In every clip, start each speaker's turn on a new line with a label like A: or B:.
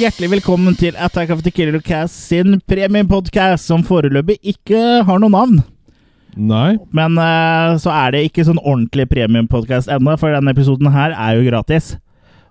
A: Hjertelig velkommen til Attack of the Killer Cast sin premiepodcast, som foreløpig ikke har noe navn.
B: Nei.
A: Men eh, så er det ikke sånn ordentlig premiumpodkast ennå, for denne episoden her er jo gratis.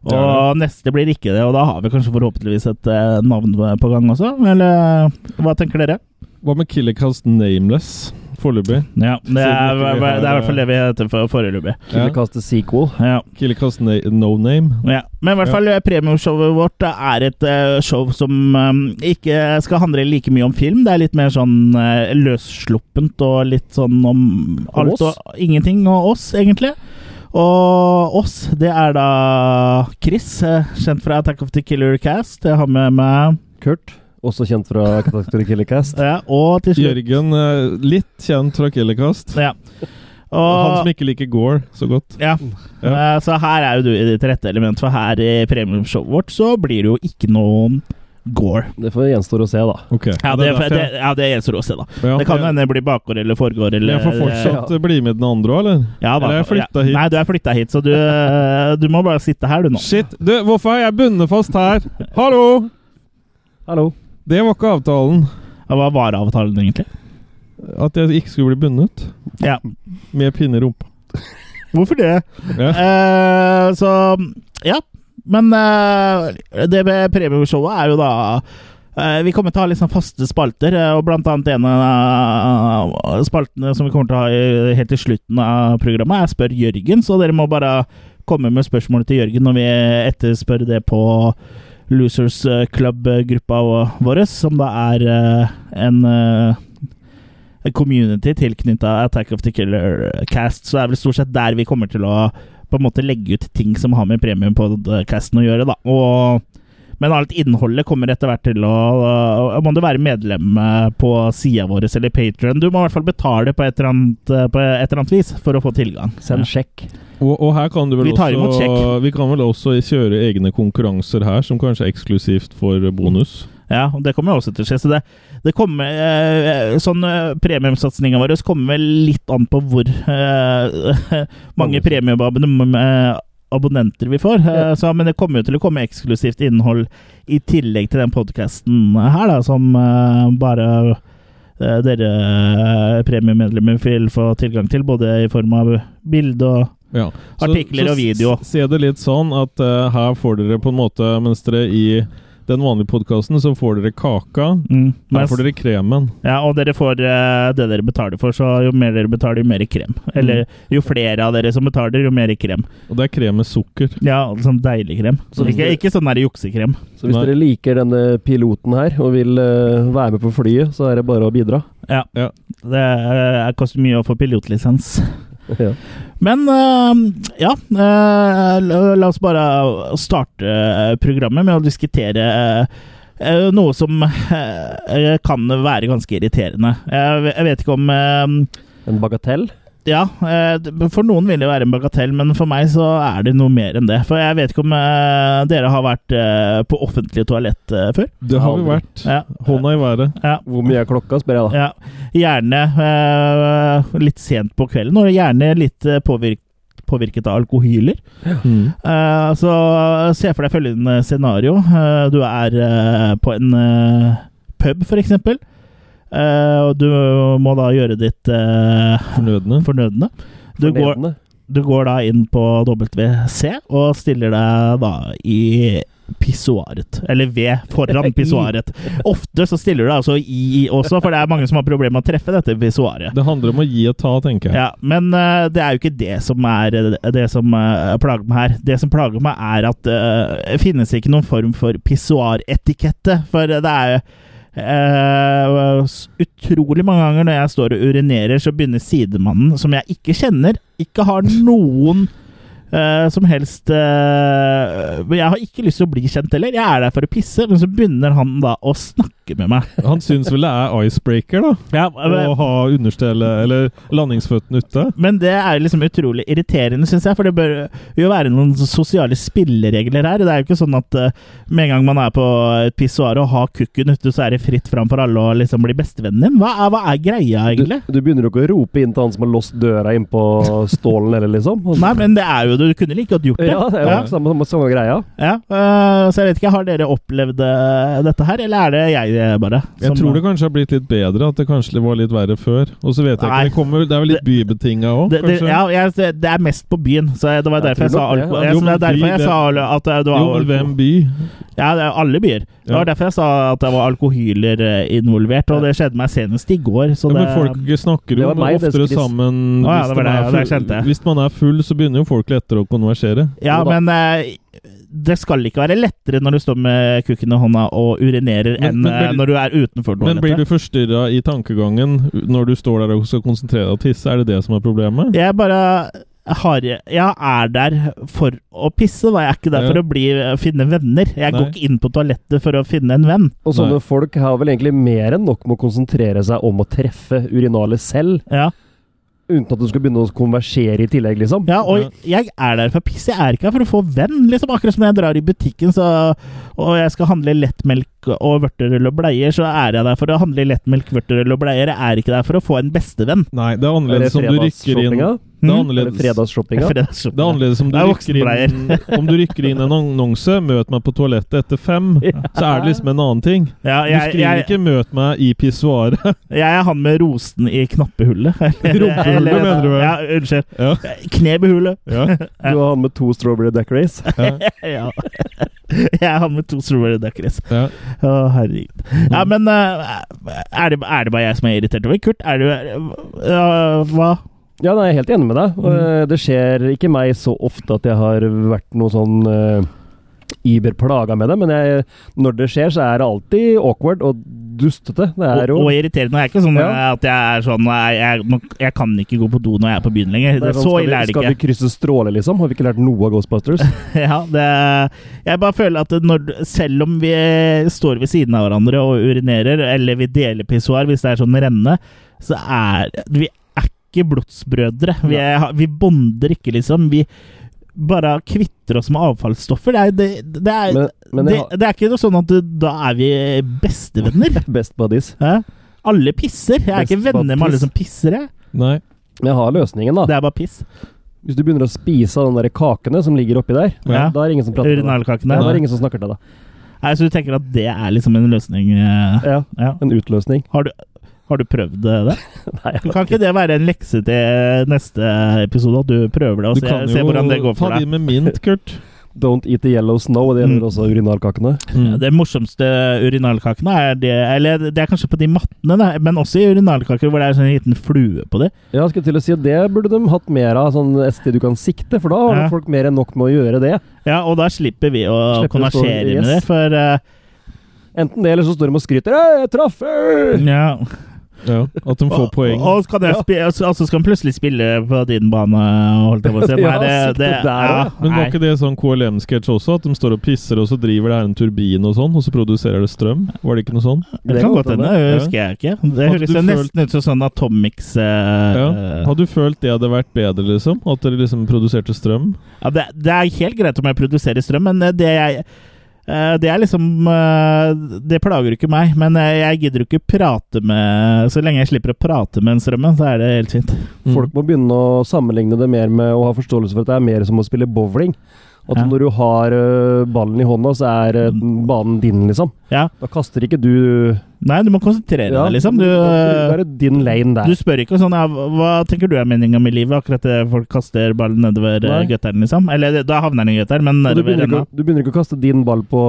A: Og
B: Ja.
A: neste blir ikke det, og da har vi kanskje forhåpentligvis et eh, navn på gang også. Eller hva tenker dere?
B: Hva med Killercast Nameless foreløpig?
A: Ja, det er,
B: Siden ikke vi har-
A: det er i hvert fall det vi heter for foreløpig.
B: Ja.
C: Killekaste sequel.
A: Ja.
B: Killercast na No Name?
A: Ja. Men i hvert
B: Ja.
A: fall eh, premiumshowet vårt er et eh, show som eh, ikke skal handle like mye om film. Det er litt mer sånn eh, løssluppent og litt sånn om alt
C: oss?
A: og ingenting og oss, egentlig. Og oss, det er da Chris, eh, kjent fra Attack of the Killer Cast. Jeg har med meg
C: Kurt, også kjent fra Katakter Killercast.
A: ja, Og til slutt
B: Jørgen, eh, litt kjent fra Killercast.
A: ja.
B: Han
A: Og
B: som ikke liker Gore så godt.
A: Ja.
B: Ja.
A: Eh, Så her er jo du i ditt rette element, for her i premiumshowet vårt så blir det jo ikke noe gore.
C: Det får gjenstår å se, da.
B: Ok.
A: Ja, det,
B: er derfor
A: det,
B: jeg-
A: ja, det gjenstår å se, da.
B: Ja,
A: Det kan
B: jeg-
A: jo hende det blir bakgård eller forgård eller
B: Jeg får fortsatt eh, bli med den andre òg, eller?
A: Ja, da.
B: Eller jeg flytta hit.
A: Nei, du er flytta hit, så du, eh, du må bare sitte her, du nå.
B: Shit! Du, hvorfor er jeg bundet fast her? Hallo!
C: Hallo.
B: Det var ikke avtalen.
A: Ja, Hva var avtalen, egentlig?
B: At jeg ikke skulle bli bundet
A: Ja.
B: med pinne i rumpa.
A: Hvorfor det?
B: Ja.
A: Eh, så ja. Men eh, det med premieshowet er jo da eh, Vi kommer til å ha litt sånn faste spalter, eh, og blant annet en av eh, spaltene som vi kommer til å ha i- helt til slutten av programmet, er Spør Jørgen, så dere må bare komme med spørsmålet til Jørgen når vi etterspør det på Losers eh, Club-gruppa vå- vår, som da er eh, en eh, en community tilknytta Attack of the Killer Cast, så det er vel stort sett der vi kommer til å på en måte legge ut ting som har med premiumpodcasten å gjøre, da. Og, men alt innholdet kommer etter hvert til å øh, Må du være medlem eh, på sida vår eller Patron? Du må i hvert fall betale på et eller annet, eh, på et eller annet vis for å få tilgang.
C: Send sjekk.
B: Og, og her kan du vel
A: Vi tar imot
B: også
A: sjekk.
B: Vi kan vel også kjøre egne konkurranser her, som kanskje er eksklusivt for bonus.
A: Ja, og det kommer jo også til å skje. Så det, det kommer eh, Sånn eh, premiumsatsinga vår kommer vel litt an på hvor eh, mange premiumabonnenter vi får. Eh, så, men det kommer jo til å komme eksklusivt innhold i tillegg til den podkasten her, da, som eh, bare eh, dere eh, premiemedlemmer vil få tilgang til, både i form av bilde og
B: Ja.
A: Artikler og video.
B: s- Se det litt sånn at eh, her får dere på en måte Mens dere i den vanlige podkasten, så får dere kaka.
A: mm,
B: Her
A: mens-
B: får dere kremen.
A: Ja, og dere får eh, det dere betaler for, så jo mer dere betaler, jo mer krem. Eller jo flere av dere som betaler, jo mer krem.
B: Og det er krem med sukker.
A: Ja, sånn deilig krem.
C: Så hvis
A: Ikke,
C: dere-
A: ikke sånn der juksekrem.
C: Så hvis
B: Nei.
C: dere liker denne piloten her og vil eh, være med på flyet, så er det bare å bidra.
A: Det eh, koster mye å få pilotlisens.
C: ja.
A: Men eh, ja, eh, la la oss bare starte eh, programmet med å diskutere eh, eh, noe som eh, kan være ganske irriterende. Jeg, ve- jeg vet ikke om eh,
C: En bagatell.
A: Ja, eh, d- for noen vil det være en bagatell, men for meg så er det noe mer enn det. For jeg vet ikke om eh, dere har vært eh, på offentlig toalett eh, før?
B: Det har vi
C: Aldri.
B: vært.
A: Ja.
B: Hånda i været.
A: ja.
C: Hvor mye er klokka, spør jeg da.
A: ja. Gjerne eh, litt sent på kvelden, og gjerne litt eh, påvirk påvirket av alkohyler.
B: Mm.
A: Eh, så se for deg følgende scenario. Eh, du er eh, på en eh, pub, for eksempel. Eh, og du må da gjøre ditt eh,
B: Fornødne.
A: fornødne. Du går,
C: Fornedrende.
A: Du går da inn på WC og stiller deg da i pissoaret. Eller ved, foran
C: I.
A: pissoaret. Ofte så stiller du deg altså i også, for det er mange som har problemer med å treffe dette pissoaret.
B: Det handler om å gi og ta, tenker jeg.
A: Ja, men eh, det er jo ikke det som er eh, det som eh, plager meg her. Det som plager meg, er at eh, finnes ikke noen form for pissoaretikette. For det er jo eh, s- utrolig mange ganger når jeg står og urinerer, så begynner sidemannen, som jeg ikke kjenner, ikke har noen eh, som helst eh, Jeg har ikke lyst til å bli kjent heller. Jeg er der for å pisse, men så begynner han da å snakke med meg.
B: Han syns vel det er icebreaker, da. Å ha understellet eller landingsføttene ute.
A: Men det er liksom utrolig irriterende, syns jeg. For det bør jo være noen sosiale spilleregler her. Det er jo ikke sånn at eh, med en gang man er på et pissoar og har kukken ute, så er det fritt fram for alle å liksom bli bestevennen din. Hva er, hva er greia,
C: Du,
A: egentlig?
C: du begynner jo ikke å rope inn til han som har låst døra innpå stålen, eller liksom.
A: Nei, men det er jo du kunne like godt gjort det.
C: Ja, det er jo
A: ja.
C: samme, samme, samme greia.
A: Ja, øh, så jeg vet ikke, har dere opplevd øh, dette her, eller er det jeg eh, bare?
B: Jeg tror det kanskje har blitt litt bedre, at det kanskje var litt verre før. Og så vet jeg
A: Nei.
B: ikke, det, kommer, det er jo litt bybetinga òg,
A: det, det,
B: kanskje?
A: ja, jeg, det er mest på byen, så jeg- det var
C: Jeg
A: derfor jeg,
C: tror
A: sa
C: nok det,
A: alko.
B: ja.
A: Jeg, det er
B: Jo, men
A: derfor
B: by,
A: jeg
B: det-
A: sa al- at eh, det det var
B: Jo, men hvem by?
A: Ja, det er alle byer. Det
B: Ja.
A: var derfor jeg sa at det var alkohyler eh, involvert, og det skjedde meg senest i går. Så
B: Ja,
A: det,
B: men folk
C: Det
B: snakker jo
C: var meg, det,
B: oftere
C: Chris.
B: sammen
A: Å, ja,
B: hvis
A: det var det,
B: de er
A: ja, det
B: full-
A: skjønte jeg.
B: Hvis man er full, så begynner jo folk lettere å konversere.
A: ja,
C: Jo da.
A: men eh, det skal ikke være lettere når du står med kukken i hånda og urinerer,
B: Men-
A: enn
B: men
A: eh,
B: blir-
A: når du er utenfor
B: Men blir
A: toalettet.
B: du forstyrra i tankegangen når du står der og skal konsentrere deg og tisse? Er det det som er problemet?
A: Jeg bare har, jeg er der for å pisse, da. Jeg er ikke der
B: Ja.
A: for å bli, finne venner. Jeg går
B: Nei.
A: ikke inn på toalettet for å finne en venn.
C: Og
B: Nei.
C: sånne folk har vel egentlig mer enn nok med å konsentrere seg om å treffe urinalet selv,
A: Ja,
C: uten at du skal begynne å konversere i tillegg, liksom.
A: ja og
B: Ja.
A: jeg er der for å pisse. Jeg er ikke her for å få venn. Liksom. Akkurat som når jeg drar i butikken så, og jeg skal handle lettmelk og vørterøl og bleier, så er jeg der for å handle lettmelk, vørterøl og bleier. Jeg er ikke der for å få en bestevenn.
B: Nei, det er
C: Er det
B: annerledes om du rykker inn Det
C: fredagsshoppinga?
B: er
A: Mm.
C: Er det
B: annerledes
C: fredagsshoppinga?
A: For det er så-
B: Det er annerledes om du,
A: Det er
B: rykker inn, om du rykker inn en annonse 'Møt meg på toalettet etter fem', så er det liksom en annen ting.
A: Ja,
B: Du
A: jeg,
B: skriver
A: jeg,
B: ikke 'møt meg i pissoaret'.
A: jeg er han med rosen i knappehullet.
B: Rumpehullet,
A: Eller-
B: mener du vel?
A: Ja, unnskyld.
B: Ja.
A: Knebehullet.
B: Ja.
C: Du har han med to strawberry deck race.
A: ja. Jeg er han med to strawberry duckers.
B: Ja.
A: Å, herregud. Ja, men eh, er, det, er det bare jeg som er irritert over Kurt? Er du eh, Hva?
C: Ja, nei, jeg er helt enig med deg.
A: Mm.
C: Og, eh, Det skjer ikke meg så ofte at jeg har vært noe sånn uh, iber plaga med det, men jeg, når det skjer, så er det alltid awkward og dustete. Det er
A: Og,
C: jo
A: og irriterende. Det er ikke sånn
C: Ja.
A: eh, at jeg er sånn eh, jeg, nå- jeg kan ikke gå på do når jeg er på byen lenger.
C: det
A: Det
C: er sånn,
A: så
C: skal vi-
A: ille er det
C: Skal
A: ikke.
C: vi krysse stråler, liksom? Har vi ikke lært noe av Ghostbusters?
A: Ja, det, jeg bare føler at når, selv om vi står ved siden av hverandre og urinerer, eller vi deler pissoar hvis det er sånn renne, så er vi er ikke blodsbrødre. Vi, er, vi bonder ikke, liksom. Vi bare kvitter oss med avfallsstoffer. Det er, det, det er,
C: Men, men jeg har
A: det, det er ikke noe sånn at da er vi bestevenner.
C: best buddies.
A: Hæ? Alle pisser. Jeg er ikke
C: Best på
A: venner med alle
C: piss.
A: som pisser. Jeg.
B: Nei.
C: Men jeg har løsningen, da.
A: Det er bare piss.
C: Hvis du begynner å spise av den der kakene som ligger oppi der,
A: Ja.
C: da er det ingen som prater til deg. Ja,
A: Urinalkakene.
C: da er
B: Nei.
C: det ingen som snakker til deg.
A: Nei, Så du tenker at det er liksom en løsning? eh,
C: Ja,
A: Ja.
C: en utløsning.
A: Har du, har du prøvd eh, det?
C: Nei, jeg
A: Kan ikke det være en lekse til eh, neste episode, at du prøver det og
B: Du
A: se,
B: kan
A: se Altså, hvordan det
B: jo
A: går
B: ta
A: for
B: de
A: deg?
B: med mint, Kurt.
C: Don't eat the yellow snow, og det gjelder
A: Mm.
C: også urinalkakene.
B: Mm.
A: Det morsomste urinalkakene er det Eller det er kanskje på de mattene, da, men også i urinalkaker hvor det er sånn liten flue på de.
C: Ja, jeg skulle til å si at det burde de hatt mer av, sånn et sted du kan sikte, for da har
A: Ja.
C: folk mer enn nok med å gjøre det.
A: Ja, og da slipper vi å
C: Slipper å
A: konversere
C: stå-
A: med
C: yes.
A: det, for eh,
C: Enten det, eller så står de og skryter. «Hei, jeg traff! øh!»
A: ja.
B: Ja, at de får poeng.
A: Og, og så kan jeg
C: Ja.
A: spi- og så- og så skal han plutselig spille på din bane, holdt jeg på å si.
C: Ja, sikte der
A: ja,
C: også.
B: Men var
A: nei.
B: ikke det sånn KLM-sketsj også? At de står og pisser, og så driver det her en turbin og sånn, og så produserer det strøm? Var det ikke noe sånn?
A: Det kan godt hende, det husker jeg ikke. Det
B: Hadde
A: høres
B: du
A: jo
B: følt-
A: nesten ut som sånn Atomics eh,
B: Ja. Hadde du følt det hadde vært bedre, liksom? At dere liksom produserte strøm?
A: Ja, det, det er helt greit om jeg produserer strøm, men eh, det jeg eh, det er liksom eh, Det plager ikke meg, men eh, jeg gidder ikke prate med Så lenge jeg slipper å prate med en strømmen, så er det helt fint.
B: Mm.
C: Folk må begynne å sammenligne det mer med å ha forståelse for at det er mer som å spille bowling. At
A: Ja. Mm.
C: når du har øh, ballen i hånda, så er øh, banen din, liksom.
A: Ja.
C: Da kaster ikke du
A: Nei, du må konsentrere deg, liksom. Du,
C: da er det din lane der.
A: du spør ikke sånn ja, Hva tenker du er meninga med livet? Akkurat det folk kaster ballen nedover eh,
C: Nei.
A: gøtteren, liksom. Eller da havner den i gøtteren, men
C: Og du,
A: nedover
C: begynner ikke,
A: ennå.
C: å- du begynner ikke å kaste din ball på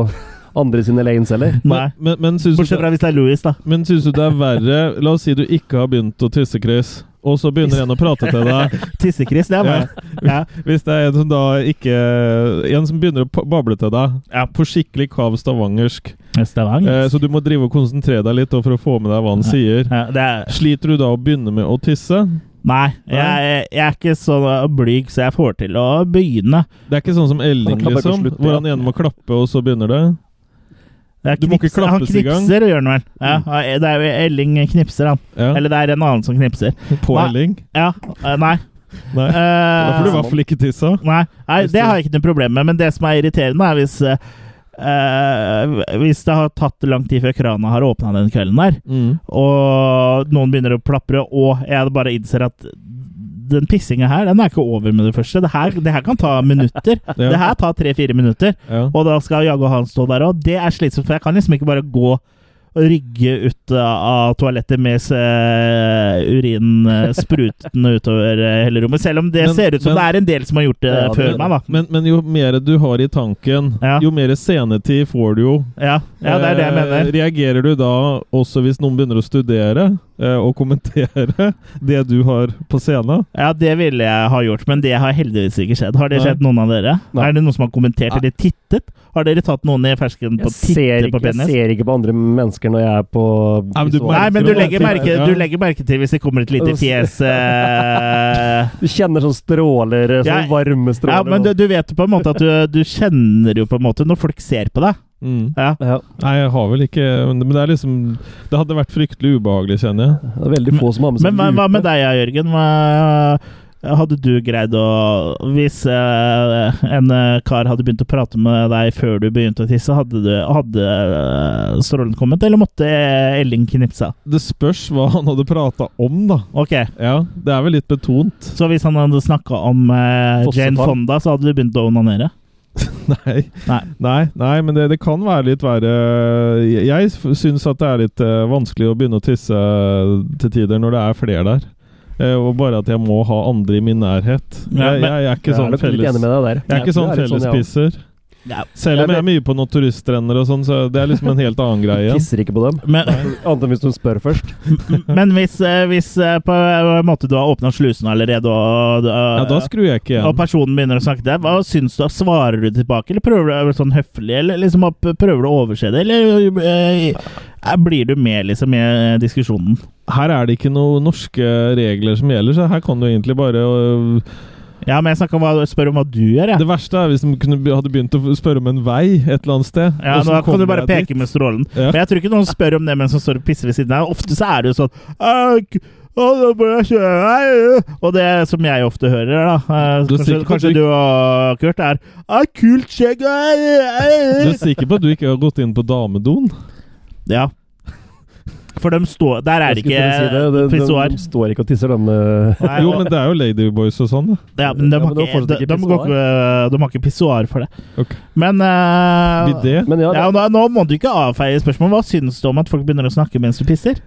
C: andre sine lanes heller.
A: Nei.
B: Men, men, men, syns du,
A: Bortsett fra hvis det er Louis, da.
B: men syns du det er verre La oss si du ikke har begynt å tisse, Chris. Og så begynner en å prate til deg.
A: Tissekris, det er meg. Ja.
B: Hvis det er en som da ikke En som begynner å pa- bable til deg
A: Ja.
B: på skikkelig kav stavangersk.
A: Stavanger.
B: Eh, så du må drive og konsentrere deg litt da, for å få med deg hva han sier.
A: Ja, det er
B: Sliter du da å begynne med å tisse?
A: Nei,
B: Nei?
A: jeg, jeg er ikke så blyg, så jeg får til å begynne.
B: Det er ikke sånn som Elling,
C: Han klapper på
B: liksom.
C: slutt,
B: Hvor
C: ja.
B: han ene må klappe, og så begynner det.
A: Jeg
B: Du må ikke
A: knips- han
B: klappes i gang. Mm.
A: knipser og gjør noe vel. Ja, det er jo Elling knipser, han.
B: Ja.
A: Eller det er en annen som knipser.
B: På
A: Nei.
B: Elling.
A: Ja, eh, nei.
B: Nei.
A: Eh,
B: Da får du i hvert fall ikke tissa.
A: nei. Nei,
B: Hvis
A: det
B: du-
A: har jeg ikke noe problem med, men det som er irriterende, er hvis eh, eh, hvis det har tatt lang tid før krana har åpna den kvelden der,
B: Mm.
A: og noen begynner å plapre, og jeg bare innser at den pissinga her, den er ikke over med det første. Det her, det her kan ta minutter. Det her tar tre-fire minutter.
B: Ja.
A: Og da skal jaggu han stå der òg. Det er slitsomt, for jeg kan liksom ikke bare gå og rygge ut av toalettet mens eh, urin eh, sprutende utover eh, hele rommet. Selv om det
B: Men-
A: ser ut som
B: men-
A: det er en del som har gjort det
C: Ja, det
A: før
C: er det.
A: meg, da.
B: Men, men jo mer du har i tanken,
A: Ja.
B: jo mer scenetid får du jo.
A: Ja, ja det er det jeg
B: Eh,
A: mener.
B: Reagerer du da også hvis noen begynner å studere eh, og kommentere det du har på scenen?
A: Ja, Det ville jeg ha gjort, men det har heldigvis ikke skjedd. Har det
B: Nei.
A: skjedd noen av dere?
C: Nei.
A: Er det noen som har kommentert
B: Nei.
A: eller tittet? Har dere tatt noen i fersken på
C: Jeg ser,
A: titte på
C: ikke, jeg
A: penis?
C: ser ikke på andre mennesker når jeg er på
B: Nei, men du
C: visual.
A: Nei, men du
B: Merker du
A: legger,
B: det?
A: merke,
B: Ja.
A: du legger merke til hvis det kommer et lite fjes eh,
C: Du kjenner sånn stråler, sånn
A: Ja,
C: varme
A: Ja,
C: stråler.
A: men du, du vet jo på en måte at du, du kjenner jo på en måte når folk ser på deg.
B: Mm.
A: Ja.
C: ja,
B: Nei, jeg har vel ikke Men men det er liksom Det hadde vært fryktelig ubehagelig, kjenner jeg.
C: det er veldig få som har med seg
A: Men hva, hva
C: lupe.
A: med deg, Jørgen? Hva, hadde du greid å Hvis eh, en eh, kar hadde begynt å prate med deg før du begynte å tisse, hadde, du, hadde eh, strålen kommet, eller måtte eh, Elling knipsa?
B: Det spørs hva han hadde prata om, da.
A: Ok,
B: Ja, Det er vel litt betont.
A: Så hvis han hadde snakka om eh, Jane
C: Fossefall.
A: Fonda, så hadde du begynt å onanere?
B: Nei.
A: Nei.
B: Nei, nei, men det, det kan være litt verre Jeg syns at det er litt eh, vanskelig å begynne å tisse eh, til tider når det er flere der. Eh, og bare at jeg må ha andre i min nærhet.
A: Ja,
B: jeg,
A: men-
B: jeg, jeg er ikke
C: Jeg er
B: sånn
C: nok litt
B: felles
C: enig med deg der.
B: Jeg er ikke sånn
C: Det er litt sånn, ja.
B: fellespisser.
A: Ja.
B: Selv om
C: Jeg
B: jeg er mye på noen turiststrender og sånn, så det er liksom en helt annen greie.
C: Tisser ikke på dem.
A: Men,
C: Annet enn hvis du spør først.
A: men hvis, eh, hvis eh, på en måte du har åpna slusene allerede og, eh, og,
B: Ja, da skrur jeg ikke
A: og
B: igjen.
A: personen begynner å snakke til deg, hva syns du? Svarer du tilbake, eller prøver du å være sånn høflig, eller liksom opp- prøver du å overse det, eller eh, eh, blir du med liksom i eh, diskusjonen?
B: Her er det ikke noen norske regler som gjelder, så her kan du egentlig bare øh,
A: Ja, men jeg snakker om hva, spør om hva du gjør, jeg.
B: Det verste er hvis de kunne, be- hadde begynt å spørre om en vei et eller annet sted.
A: Ja,
B: og så
A: da kan
B: kommer
A: du bare
B: jeg dit.
A: peke med strålen.
B: Ja.
A: Men jeg tror ikke noen spør om det mens de står og pisser ved siden av. Ofte så er det jo sånn «Au, k- å, da må jeg kjøre meg, ø». Og det som jeg ofte hører, da eh,
B: Du
A: Kanskje,
B: er sikker på at
A: kanskje
B: du
A: du og Kurt er «Au, Kult skjegg! au,
B: Du
A: au,
B: er sikker på at du ikke har gått inn på damedoen?
A: au». Ja. For dem står Der er det
C: Jeg skulle til å si
A: ikke
C: det. De,
A: pissoar.
C: de, de står ikke og tisser, de. eh.
A: Nei,
B: Jo,
A: og-
B: men det er jo Ladyboys og sånn. da.
A: ja, men de
C: Ja,
A: har
C: men det var
A: ikke,
C: fortsatt
A: de,
C: ikke
A: de, går ikke- eh, de har ikke pissoar for det.
B: Ok.
A: Men eh,
B: Blir det?
C: Men
A: ja,
C: ja, det,
A: og da, Nå må du ikke avfeie spørsmålet. Hva syns du om at folk begynner å snakke mens du pisser?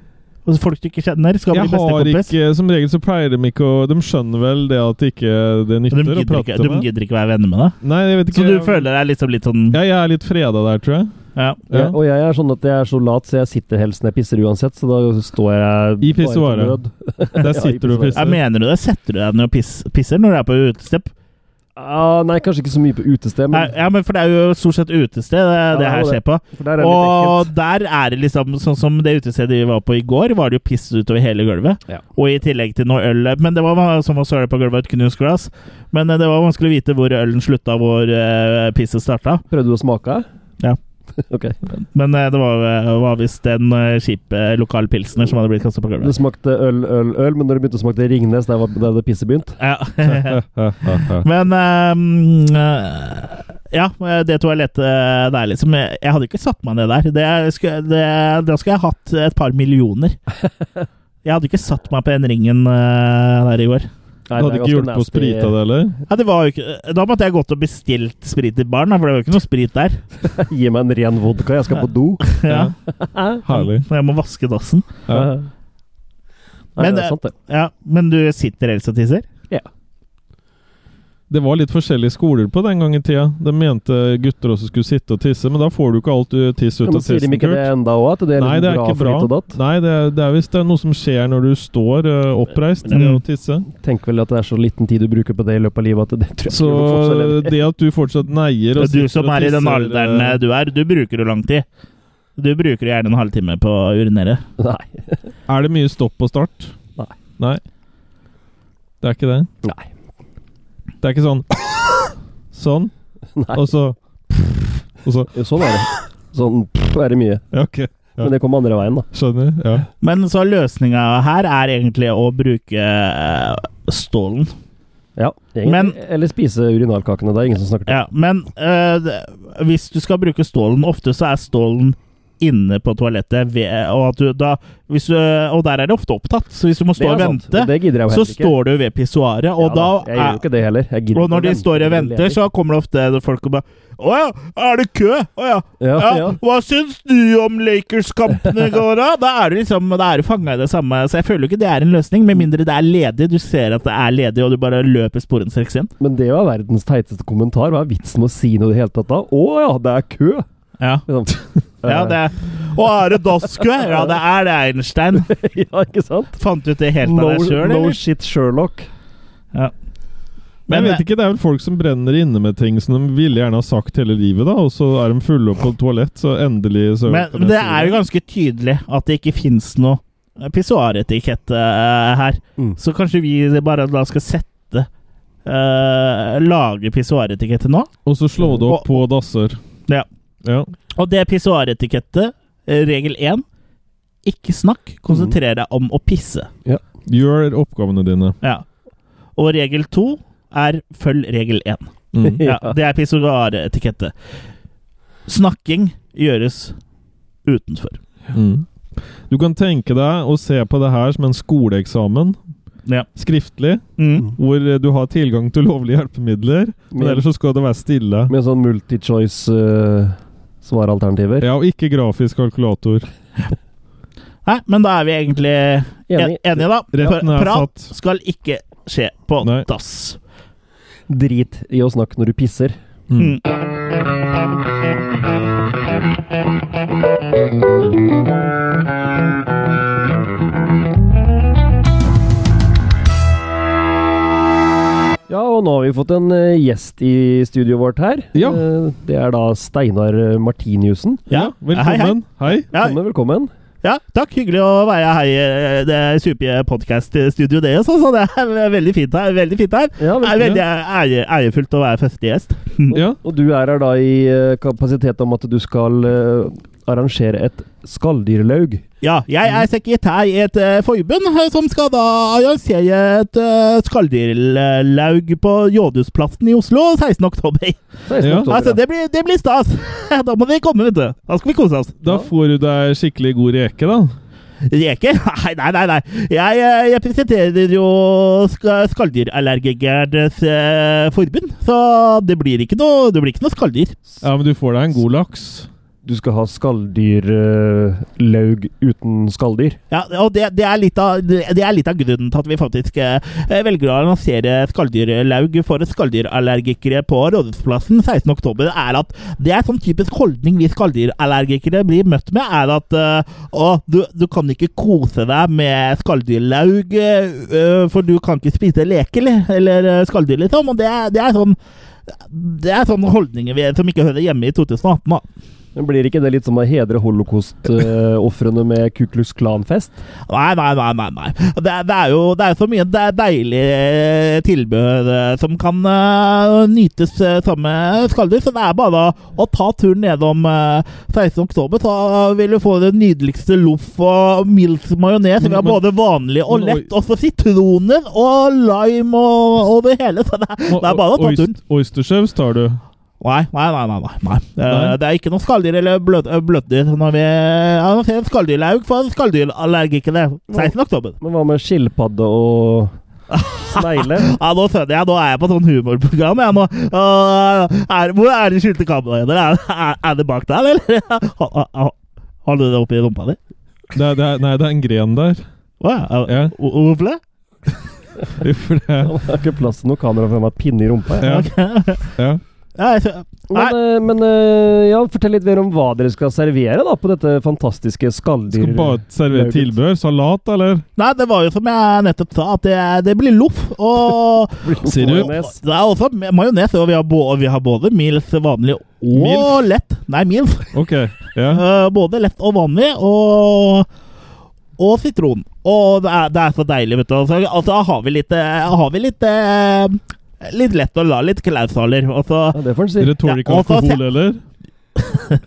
A: Og folk du ikke kjenner, skal bli
B: Jeg har
A: bestekompis.
B: ikke, Som regel så pleier de ikke å De skjønner vel det at det ikke det
A: Men De
B: nytter å
A: gidder, ikke,
B: prate
A: de
B: med.
A: gidder ikke være venner med deg.
B: Nei, jeg vet
A: Så
B: ikke
A: du føler deg liksom litt sånn
B: Ja, jeg er litt freda der, tror jeg.
A: ja.
B: Ja.
C: og jeg er sånn at jeg er så lat, så jeg sitter helst når jeg pisser uansett. Så da står jeg
B: I
C: bare som
B: pissoaret.
C: nød.
B: Der sitter du og
A: Jeg
B: pisser.
A: Mener du det? Setter du deg ned og piss- pisser når du er på utested?
C: Ah, nei, kanskje ikke så mye på utested,
A: Nei,
C: men
A: Ja, men for det er jo stort sett utested det, det
C: det er
A: her
C: jo
A: skjer på.
C: for der er det litt
A: Og
C: ekkelt.
A: der er det liksom sånn som det utestedet vi var på i går, var det jo piss utover hele gulvet.
C: Ja.
A: Og i tillegg til noe øl Men det var van- som å søle på gulvet av et knusglass. Men eh, det var vanskelig å vite hvor ølen slutta, hvor eh, pisset starta.
C: Prøvde du å smake?
A: Ja.
C: ok.
A: Men eh, det var, var visst en eh, kjip eh, lokal pilsner som hadde blitt kasta på
C: Det
A: gulvet.
C: smakte øl, øl, øl, men når det begynte å smake Ringnes, der var der hadde pisset begynt.
A: Ja.
B: Ja.
A: Men ehm, eh, Ja, det toalettet der, liksom Jeg jeg hadde ikke satt meg ned der. Det skulle, det, da skulle jeg hatt et par millioner. Jeg hadde ikke satt meg på den ringen eh, der i går.
C: Nei,
B: Du
C: det
B: hadde
C: er
B: ikke
C: ganske
B: hjulpet å
C: nasty.
B: sprite av det, eller?
A: Ja, det var jo ikke, da måtte jeg gått og bestilt sprit i baren, da, for det var jo ikke noe sprit der.
C: Gi meg en ren vodka, jeg skal på do.
A: Ja,
B: Herlig.
A: for jeg må vaske dassen.
B: Ja.
C: Nei,
A: Men
C: det
A: det-
C: er sant, det.
A: Ja, Men du sitter ellers og tisser?
B: Det var litt forskjellige skoler på den gang i tida. De mente gutter også skulle sitte og tisse, men da får du ikke alt du tiss ut
C: Ja,
B: av
C: men sier de
B: tissen,
C: ikke det
B: Kurt.
C: enda òg, at det er,
B: Nei,
C: liksom
B: det er
C: bra
B: ikke
C: for
B: bra.
C: hit og datt?
B: Nei, det er, det er visst det er noe som skjer når du står ø, oppreist,
A: Mm.
B: det å tisse.
C: Tenk vel at det er så liten tid du bruker på det i løpet av livet at det tror jeg
B: Så
C: ikke gjør noen forskjell, eller?
B: det at du fortsatt neier og
A: Du
B: sitter
A: som
B: og
A: er i den
B: tisser, eh,
A: alderen eh,
B: ø,
A: du er, du bruker jo lang tid. Du bruker gjerne en halvtime på å urinere.
C: Nei.
B: Er det mye stopp og start?
C: Nei.
B: Nei. Det er ikke det?
C: Nei.
B: Det er ikke sånn Sånn,
C: Nei.
B: og så Og så
C: Jo, Sånn er det. Sånn pff, er det mye.
B: Ja, ok. Ja.
C: Men det kom andre veien, da.
B: Skjønner. Ja.
A: Men så løsninga her er egentlig å bruke eh, stålen.
C: Ja, egentlig.
A: Men-
C: Eller spise urinalkakene. Det er ingen som snakker til.
A: Ja, men eh, det- hvis du skal bruke stålen, ofte så er stålen inne på toalettet, ved, og, at du, da, hvis du, og der er det ofte opptatt, så hvis du må stå og
C: er sant.
A: vente,
C: Det gidder jeg jo
A: så
C: heller ikke.
A: står du ved pissoaret, og
C: Ja da, Jeg
A: da
C: gjør jo
A: er,
C: ikke det heller. Jeg gidder
A: og når
C: ikke å
A: de
C: vente.
A: står og
C: Jeg
A: venter,
C: leter.
A: så kommer det ofte folk og bare Å ja, er det kø? Å ja.
C: ja,
A: ja.
C: ja.
A: Hva syns du om Lakers-kampene i går, da? Da er du liksom, da er du fanga i det samme. Så jeg føler jo ikke det er en løsning, med mindre det er ledig. Du ser at det er ledig, og du bare løper sporenstreks igjen.
C: Men det var verdens teiteste kommentar. Hva er vitsen med å si noe i det hele tatt da? Å ja, det er kø!
A: Ja.
C: Liksom.
A: Ja, det er. Og er det dasskø? Ja, det er det, Einstein.
C: ja, ikke sant?
A: Fant ut det helt
C: No,
A: av deg sjøl,
C: no
A: eller?
C: shit Sherlock.
B: Men
A: Men- eh,
B: jeg vet ikke, Det er vel folk som brenner inne med ting som de ville gjerne ha sagt hele livet, da, og så er de fulle opp på toalett, så endelig så
A: Men, men det er jo ganske tydelig at det ikke fins noe pissoaretikette eh, her.
C: Mm.
A: Så kanskje vi bare da skal sette eh, Lage pissoaretikette nå?
B: Og så slå det opp
A: Og-
B: på dasser.
A: Ja.
B: ja.
A: Og det er pissoaretikette, eh, regel én. Ikke snakk, konsentrer deg om å pisse.
B: Gjør oppgavene dine.
A: Ja. Og regel to er følg regel én.
B: Mm.
A: Ja, det er pissoaretikette. Snakking gjøres utenfor.
B: Mm. Du kan tenke deg å se på det her som en skoleeksamen,
A: Ja.
B: skriftlig,
A: Mm.
B: hvor eh, du har tilgang til lovlige hjelpemidler, men
C: Med,
B: ellers så skal det være stille.
C: med sånn eh, multichoice-svaralternativer.
B: Ja, og ikke grafisk kalkulator.
A: Nei, men da er vi egentlig en-
C: Enig.
A: enige, da.
B: Retten
A: Pra-
B: er
A: Prat
B: satt.
A: skal ikke skje på
B: Nei.
A: dass.
C: Drit i å snakke når du pisser.
A: Mm.
B: Mm.
C: Ja, og nå har vi fått en eh, gjest i studioet vårt her.
B: Ja.
C: Eh, Det er da Steinar eh, Martiniussen.
B: Ja, velkommen. Hei.
A: Ja,
C: Velkommen, velkommen.
A: ja, takk. Hyggelig å være her i eh, det supige podkast-studioet deres. Altså, det er veldig fint her. Veldig fint her.
C: Ja,
A: Det er
C: velkommen.
A: veldig ære, ærefullt å være første gjest.
B: Ja.
C: Og du er her da i eh, kapasitet om at du skal eh, arrangere et skalldyrlaug.
A: Ja, jeg er sekretær i et eh, forbund eh, som skal da arrangere et uh, skalldyrlaug på Rådhusplassen i Oslo 16. oktober.
C: 16.
B: Ja.
C: oktober.
A: Altså, det blir, det blir stas! Da må dere komme, vet du. Da skal vi kose oss.
B: Da får du deg skikkelig god reke, da.
A: Reker? Nei, nei, nei. nei. Jeg eh, representerer jo sk- Skalldyrallergikernes eh, forbund, så det blir ikke noe, det blir ikke noe skalldyr.
B: Ja, men du får deg en god laks.
C: Du skal ha skalldyrlaug uten skalldyr.
A: Ja, og det, det, er litt av, det det er litt av grunnen til at vi faktisk eh, velger å annonsere skalldyrlaug for skalldyrallergikere på Rådhusplassen 16.10, er at det er sånn typisk holdning vi skalldyrallergikere blir møtt med, er at eh, å, du, du kan ikke kose deg med skalldyrlaug, eh, for du kan ikke spise leke eller, eller eh, skalldyr, liksom. Og det, er- det er sånn det er sånne holdninger vi, som ikke hører hjemme i 2018. da.
C: Men Blir ikke det litt som å hedre holocaust-ofrene med Ku Klux Klan-fest?
A: Nei, nei, nei. nei, nei. Det, er- det er jo det er så mye det er deilig eh, tilbehør eh, som kan eh, nytes eh, sammen med skalldyr, så det er bare å, å ta turen nedom eh, 16. oktober, så vil du få det nydeligste loff og mild majones. Vi har
B: Men- men-
A: både vanlig og
B: men-
A: lett, og så sitroner og lime og, og det hele. Så det, er- det er bare å ta turen.
B: Oyst- Oystersaus tar du.
A: Nei, nei, nei. nei, nei, nei. Eh,
B: Nei.
A: Det er ikke noe skalldyr eller blød, eh, bløtdyr når vi annonserer skalldyrlaug for skalldyrallergikere 16. oktober.
C: Men hva med skilpadde og snegle?
A: Ja, nå skjønner jeg. Nå er jeg på sånn humorprogram. Jeg, nå. Åh, er, hvor er de skjulte kameraene? Er, er, er det bak der, eller? Ha- ha- ha- Har du det oppi rumpa di?
B: Det er, det er, nei, det er en gren der.
A: Å, ja.
B: Ja.
A: Hvor- Hvorfor det?
B: For det
C: Det er ikke plass til noe kamera for meg pinne i rumpa. jeg.
B: ja,
A: Ok.
B: ja.
A: Ja, jeg skjø-
C: Men, eh, men eh, ja, fortell litt mer om hva dere skal servere da på dette fantastiske skalldyr...
B: Skal bare servere
C: Laget.
B: tilbehør. Salat, eller?
A: Nei, det var jo som jeg nettopp sa, at det, det blir loff. Og
B: Sirup.
C: Majones.
A: det er også majones, og vi har, bo, vi har både mils vanlig og
B: Milf?
A: lett. Nei, mils.
B: Ok. Ja.
A: Eh, både lett og vanlig, og, og sitron. Og det er, det er så deilig, vet du. Og så altså, har vi litt, eh, har vi litt eh, Litt lett å la litt klaushaler. Og så
C: Ja, det får en si.
B: Dere tåler ikke
A: Ja, og så-
B: alkohol, eller?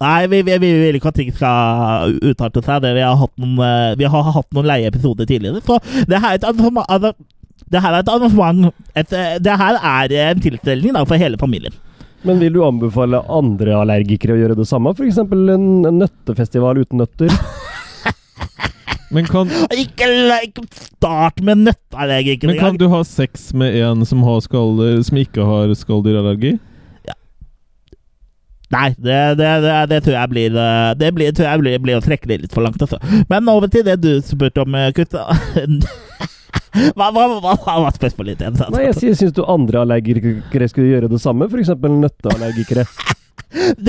A: Nei, vi, vi, vi vil ikke at ting skal utarte seg. Det, vi, har hatt noen, eh, vi har hatt noen leie episoder tidligere. Så det her er et arrangement altså, Det her er et arrangement et, eh, Det her er en tilstelning da, for hele familien.
C: Men vil du anbefale andre allergikere å gjøre det samme? F.eks. En, en nøttefestival uten nøtter?
B: Men kan,
A: Ikke like, start med nøtteallergiker
B: men kan
A: engang!
B: du ha sex med en som, har skalldyr, som ikke har skalldyrallergi?
A: Nei, det, det, det, det tror jeg blir eh, Det blir, tror jeg blir, blir å trekke det litt for langt. Altså. Men over til det du spurte om, eh, Kurt. Hva, hva, hva, hva var spørsmålet ditt igjen? sa
C: Nei, jeg sier- syns du andre allergikere skulle gjøre det samme? F.eks. nøtteallergikere.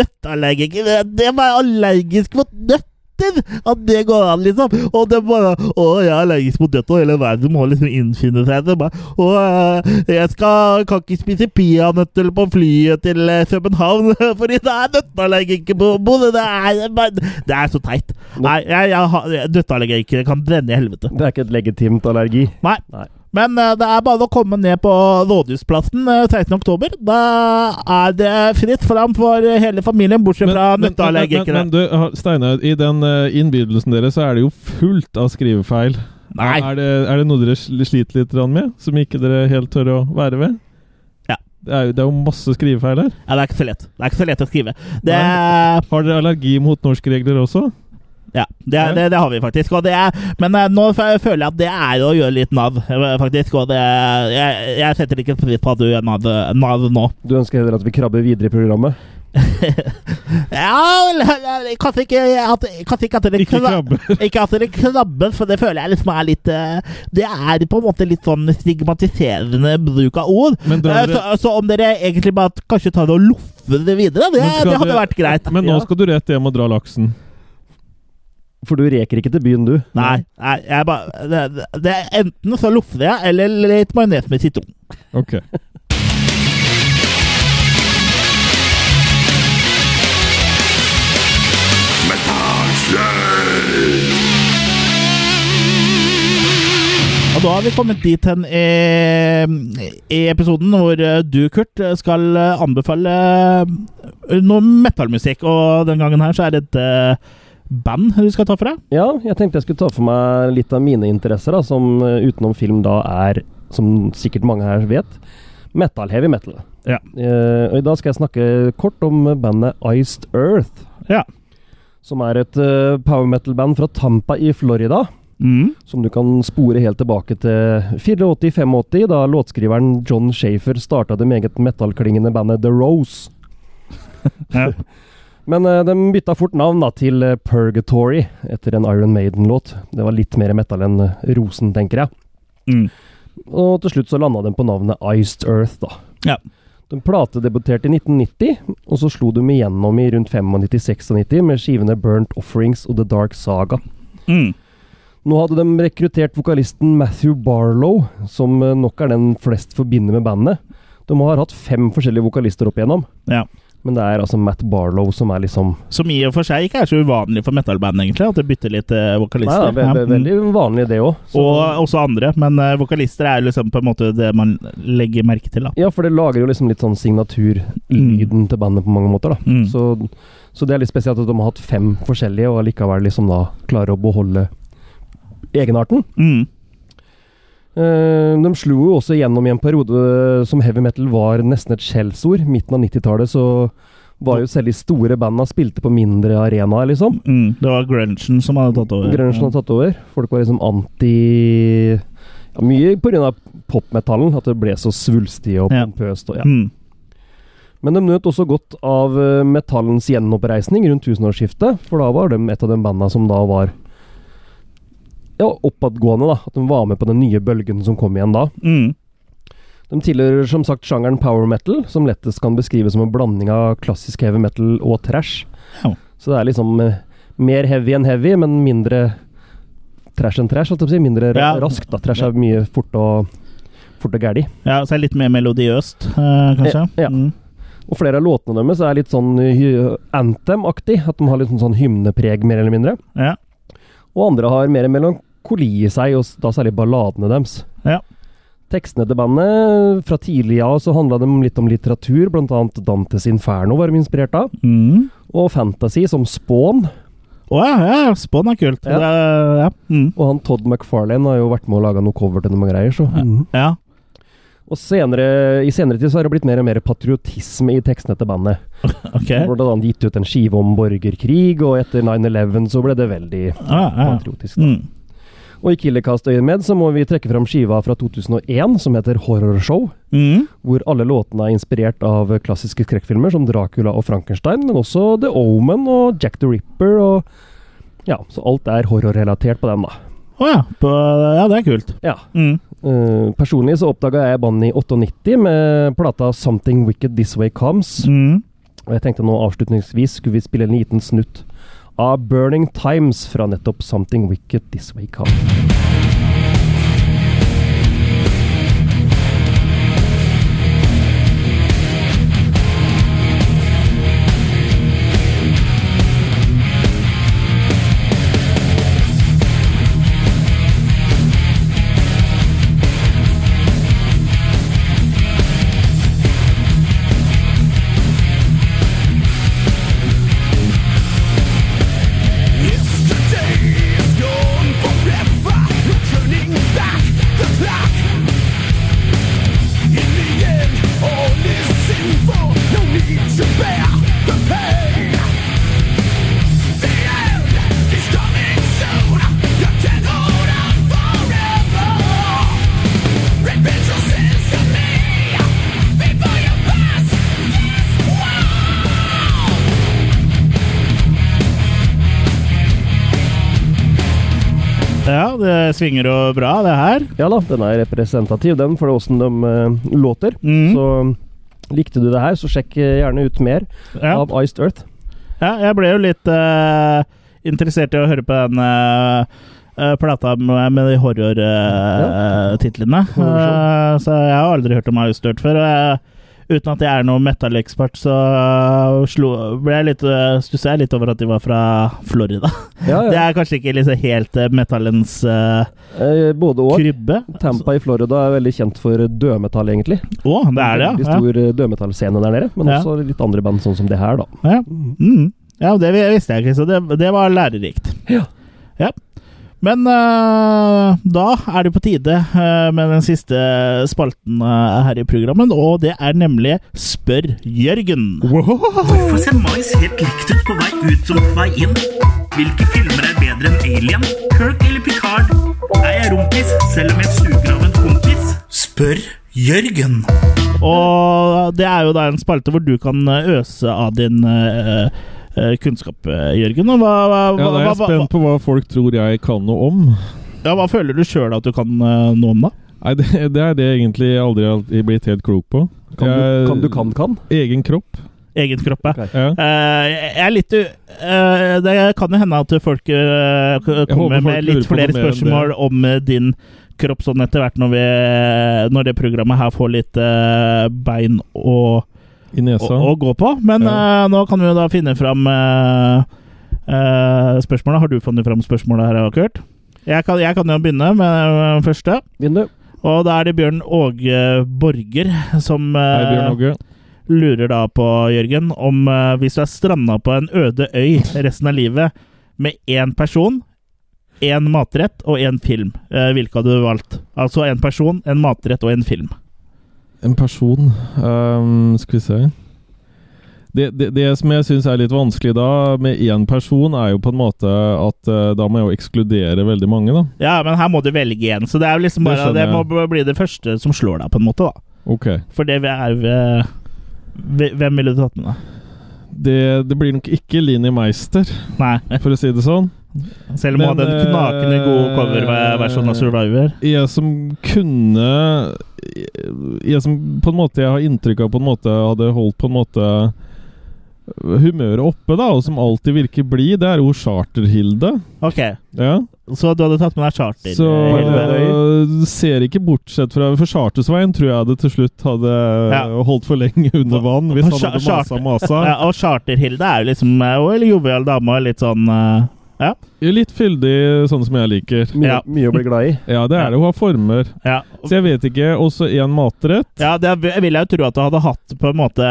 A: Nøtteallergiker det- Det å være allergisk mot nøtter! At det går an, liksom. Og det er bare Å, jeg er allergisk mot nøtter, og hele verden må liksom innfinne seg. Det er bare, å, eh, jeg skal, kan ikke spise peanøtter på flyet til eh, København fordi det er nøtteallergiker på bordet! Det er, bare- det er så teit. Nei, jeg, jeg, har- nøtteallergikere kan brenne i helvete.
C: Det er ikke et legitimt allergi.
A: Men eh, det er bare å komme ned på Rådhusplassen eh, 16. oktober. Da er det fritt fram for hele familien, bortsett fra
B: men, men, men,
A: nøtteallergikere.
B: men du, ha- Steinar, i den eh, innbydelsen deres så er det jo fullt av skrivefeil.
A: Nei.
B: Er det, er det noe dere sl- sliter litt grann med, som ikke dere helt tør å være ved?
A: Ja.
B: Det er jo, det er jo masse skrivefeil her.
A: Ja, det er ikke så lett. Det er ikke så lett å skrive. Det,
B: Har dere allergi mot norskregler også?
A: ja, det, det, det har vi faktisk. Og det er, men eh, nå f- føler jeg at det er å gjøre litt nav, eh, faktisk. Og det, jeg, jeg setter ikke pris på at du gjør nav, nav nå.
C: Du ønsker heller at vi krabber videre i programmet?
A: Ja, eller- eller kanskje ikke at, kanskje ikke at dere
B: Ikke krabbe.
A: Ikke at dere krabber, for det føler jeg liksom er litt eh, Det er på en måte litt sånn stigmatiserende bruk av ord.
B: Men drar
A: Eh, Så,
B: dere-
A: så om dere egentlig bare kanskje tar og loffer det videre, det,
B: Men skal
A: det hadde
B: dere-
A: vært greit.
B: Men nå
C: Ja.
B: skal du rett hjem og dra laksen.
C: For du reker ikke til byen, du.
A: Nei, nei jeg bare det, det- det, Enten så loffer jeg, eller litt majones med sitron.
B: Ok.
A: Og da har vi kommet dit hen i, i episoden hvor eh, du, Kurt, skal eh, anbefale eh, noe metallmusikk. Og den gangen her så er det et eh, band du skal ta for deg.
C: Ja, jeg tenkte jeg skulle ta for meg litt av mine interesser, da, som eh, utenom film da er, som sikkert mange her vet, metal, heavy metal.
A: Ja.
C: Eh, og i dag skal jeg snakke kort om bandet Iced Earth,
A: Ja.
C: som er et eh, power metal-band fra Tampa i Florida,
A: Mm.
C: som du kan spore helt tilbake til 84-85, da låtskriveren John Shafer starta det meget metallklingende bandet The Rose.
A: Ja.
C: Men eh, de bytta fort navn da, til eh, Purgatory etter en Iron Maiden-låt. Det var litt mer metal enn eh, Rosen, tenker jeg.
A: Mm.
C: Og til slutt så landa de på navnet Iced Earth, da.
A: Ja.
C: De platedebuterte i 1990, og så slo de igjennom i rundt 95-96 med skivene Burnt Offerings og The Dark Saga.
A: Mm.
C: Nå hadde de rekruttert vokalisten Matthew Barlow, som eh, nok er den flest forbinder med bandet. De har hatt fem forskjellige vokalister opp igjennom,
A: Ja.
C: men det er altså Matt Barlow som er liksom
A: Som i og for seg ikke er så uvanlig for metalband, egentlig. At det bytter litt eh,
C: Nei,
A: vokalister.
C: det er ve- ve-
A: Ja, mm.
C: veldig vanlig det òg.
A: Og også andre, men eh, vokalister er liksom på en måte det man legger merke til. da
C: Ja, for det lager jo liksom litt sånn signaturlyden til bandet på mange måter, da.
A: Mm.
C: Så, så det er litt spesielt at de har hatt fem forskjellige, og allikevel liksom da klarer å beholde egenarten.
A: Mm.
C: Eh, de slo jo også gjennom i en periode eh, som heavy metal var nesten et skjellsord. Midten av 90-tallet så var jo selv de store banda spilte på mindre arenaer, liksom.
A: Mm. Det var grunchen som hadde tatt over.
C: Grunchen har tatt over. Folk var liksom anti ja, Mye pga. popmetallen, at det ble så svulstig og
A: Ja.
C: pompøst. Og, ja.
A: Mm.
C: Men de nøt også godt av eh, metallens gjenoppreisning rundt tusenårsskiftet, for da var de et av de banda som da var ja, oppadgående, da. At de var med på den nye bølgen som kom igjen da.
A: Mm.
C: De tilhører som sagt sjangeren power metal, som lettest kan beskrives som en blanding av klassisk heavy metal og trash.
A: Ja.
C: Så det er liksom eh, mer heavy enn heavy, men mindre trash enn trash, holdt jeg på å si. Mindre ra
A: Ja.
C: raskt, da. Trash er mye fort og, fort og gæli.
A: Ja, så er det litt mer melodiøst, eh, kanskje.
C: Ja, ja.
A: Mm.
C: Og flere av låtene deres er litt sånn hy- anthem-aktig. At de har litt sånn hymnepreg, mer eller mindre.
A: ja.
C: Og andre har mer melankoli i seg, og s- da særlig balladene deres.
A: Ja.
C: Tekstene til bandet fra tidlig av så handla de litt om litteratur, bl.a. Dantes Inferno var de inspirert av.
A: Mm.
C: Og fantasy, som Spawn.
A: Å ja, ja, ja, Spawn er kult. Det
C: Ja.
A: er- ja. Mm.
C: Og han Todd McFarlane har jo vært med å lage noe cover til noen greier, så
A: Ja.
C: mhm.
A: ja.
C: Og senere, I senere tid så har det blitt mer og mer patriotisme i tekstene til bandet.
A: Ok.
C: Det ble blant annet gitt ut en skive om borgerkrig, og etter 9-11 så ble det veldig
A: Ah, ah.
C: patriotisk. da.
A: Mm.
C: Og i Killercast-øyemed så må vi trekke fram skiva fra 2001 som heter Horrorshow.
A: Mm.
C: Hvor alle låtene er inspirert av klassiske skrekkfilmer som Dracula og Frankenstein, men også The Omen og Jack the Ripper og Ja, så alt er horrorrelatert på den, da.
A: Å ja. På, ja, det er kult.
C: Ja.
A: Mm.
C: eh, personlig så oppdaga jeg bandet i 98 med plata 'Something Wicked This Way Comes'.
A: Mm.
C: Og jeg tenkte nå avslutningsvis skulle vi spille en liten snutt av Burning Times fra nettopp Something Wicked This Way Comes.
D: Before you pass this wall
A: Ja, det svinger jo bra, det her.
C: Ja da, den er representativ, den, for åssen de eh, låter.
A: Mhm.
C: Så mm, likte du det her, så sjekk eh, gjerne ut mer
A: Ja.
C: av Iced Earth.
A: Ja, jeg ble jo litt eh, interessert i å høre på den eh, eh, plata med, med de horror-titlene. Eh, så jeg har aldri hørt om Austert før. og jeg- uten at jeg er noen metallekspert, så eh, slo, ble jeg litt, eh, stusset jeg litt over at de var fra Florida.
C: Ja,
A: Det
C: ja.
A: er kanskje ikke liksom helt eh, metallens eh,
C: Eh, både og.
A: krybbe.
C: Tampa i Florida er veldig kjent for dødmetall, egentlig.
A: Å, det er det,
C: Veldig
A: ja.
C: stor eh, dødmetallscene der nede, men
A: Ja.
C: også litt andre band, sånn som det her, da.
A: Ja, mm. ja det visste jeg ikke, så det, det var lærerikt.
C: Ja.
A: Ja. Men eh, da er det på tide eh, med den siste spalten eh, her i programmet, og det er nemlig Spør Jørgen.
E: Hvorfor ser mais helt likt ut på vei ut som på vei inn? Hvilke filmer er bedre enn Alien, Kirk eller Picard? Er jeg rumpis selv om jeg suger av en kompis? Spør Jørgen.
A: Og det er jo da en spalte hvor du kan eh, øse av din eh, eh, kunnskap, eh, Jørgen. Og hva, hva,
B: Ja, da er
A: hva,
B: jeg
A: hva,
B: spent på hva folk tror jeg kan noe om.
A: ja, hva føler du sjøl at du kan eh, noe om, da?
B: Nei, det, det er det jeg egentlig aldri har blitt helt klok på.
C: Kan
B: Jeg-
C: du kan, du kan, kan?
B: Egen kropp.
A: Egen kropp, ja.
C: Ok.
B: Ja.
A: Eh, jeg er litt u... eh, det kan jo hende at folk eh, k- kommer
B: håper folk
A: med
B: lurer
A: litt
B: på noe
A: flere
B: mer enn
A: spørsmål om eh, din kropp sånn etter hvert, når, vi, når det programmet her får litt eh, bein å,
B: I
A: å,
B: nesa.
A: å gå på. Men eh, nå kan vi jo da finne fram uh, spørsmåla. Har du funnet fram spørsmåla her, Kurt? Jeg kan, jeg kan jo begynne med eh, første.
C: Begynn, du.
A: Og da er det Bjørn Åge Borger som eh,
B: Hei, Bjørn Åge.
A: lurer da på, Jørgen, om eh, hvis du er stranda på en øde øy resten av livet med én person, én matrett og én film, eh, hvilke hadde du valgt? Altså én person, en matrett og en film.
B: En person Ehm, Skal vi se det, det, det som jeg syns er litt vanskelig da, med én person, er jo på en måte at eh, da må jeg jo ekskludere veldig mange, da.
A: Ja, men her må du velge én, så det er jo liksom
B: Det
A: bare Det,
B: skjønner
A: må
B: jeg.
A: b- bli det første som slår deg, på en måte, da.
B: Ok.
A: For det er jo eh, hve- Hvem ville du tatt med deg?
B: Det, det blir nok ikke Linni Meister,
A: Nei,
B: for å si det sånn.
A: selv om hun hadde
B: Men,
A: en knakende god
B: eh,
A: coverversjon sånn av Survivor.
B: Jeg som kunne Jeg som på en måte jeg har inntrykk av på en måte hadde holdt på en måte humøret oppe, da, og som alltid virker blid, det er jo Charter-Hilde.
A: Ok,
B: Ja.
A: så du hadde tatt med deg charter?
B: Så
A: Hilde.
B: øh, ser ikke bortsett fra For Chartersveien tror jeg det til slutt hadde eh,
A: Ja.
B: holdt for lenge under vann hvis han
A: Char-
B: hadde masa
A: Charter-
B: masa.
A: Ja, og Charter-Hilde er jo liksom eh, og- Eller jovial dame og litt sånn eh, Ja.
B: Litt fyldig, sånn som jeg liker.
C: Mye,
A: Ja.
C: mye å bli glad i.
B: Ja, det er det. Hun har former.
A: Ja,
B: Så jeg vet ikke. Også én matrett.
A: ja det vil jeg jo tro at du hadde hatt på en måte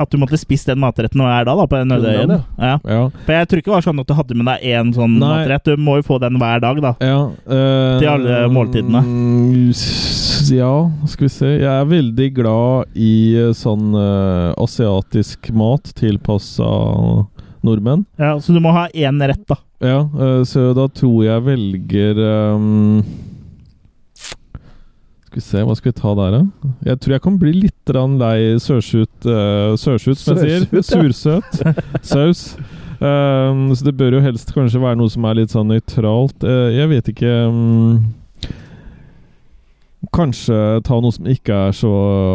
A: At du måtte spist den matretten hver dag da, på den
C: Grunnland,
A: ødeøyen. Ja.
B: Ja.
A: For jeg tror ikke det var sånn at du hadde med deg én sånn
B: Nei.
A: matrett. Du må jo få den hver dag, da.
B: ja eh,
A: Til alle måltidene.
B: mm, s- Ja, skal vi se. Jeg er veldig glad i eh, sånn eh, asiatisk mat tilpassa nordmenn.
A: Ja, så du må ha én rett, da.
B: Ja, eh, så da tror jeg velger ehm, Skal vi se, hva skal vi ta der, da? Jeg tror jeg kan bli litt grann lei sørsut eh, Sørsut, som jeg sier. Sursøt saus. Ehm, så det bør jo helst kanskje være noe som er litt sånn nøytralt. Eh, jeg vet ikke ehm, Kanskje ta noe som ikke er så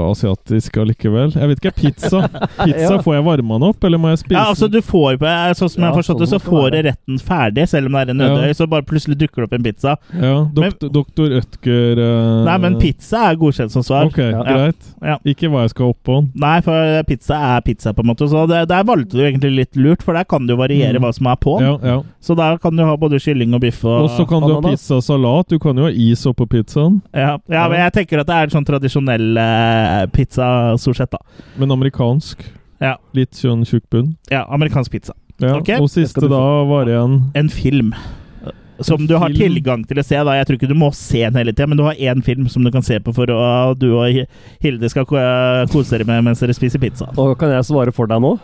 B: asiatisk allikevel. Jeg vet ikke. Pizza Pizza
C: Ja.
B: Får jeg varma den opp, eller må jeg spise
A: Ja, altså
B: den?
A: du får på, eh, Sånn som jeg
C: Ja,
A: har forstått det, så
C: sånn må det
A: får du
C: være.
A: retten ferdig, selv om det er en
B: Ja.
A: ødeøy. Så bare plutselig dukker det opp en pizza.
B: Ja,
A: Men-
B: dokt, doktor Ødger eh,
A: Nei, men pizza er godkjent som svar.
B: Ok, greit.
A: Ja.
B: Ikke hva jeg skal opp på.
A: Nei, for pizza er pizza, på en måte. Så det, der valgte du egentlig litt lurt, for der kan det jo variere
B: Mm.
A: hva som er på.
B: Ja, ja.
A: Så der kan du ha både kylling og biff og
B: Og så kan du ha
C: Ananas.
B: pizzasalat. Du kan jo ha is oppå pizzaen.
A: ja. ja, men jeg tenker at det er en sånn tradisjonell eh, pizza, stort sett, da.
B: Men amerikansk.
A: Ja.
B: Litt sånn tjukk bunn.
A: Ja, amerikansk pizza.
B: Ja.
A: Ok.
B: Og
C: Det skal
B: siste
C: du
B: da var igjen
A: En film. eh, Som du har
B: film?
A: tilgang til å se. da Jeg tror ikke du må se den hele tida, men du har én film som du kan se på for å du og Hi- Hilde skal ko- eh, kose dere med mens dere spiser pizza.
C: Og kan jeg svare for deg nå?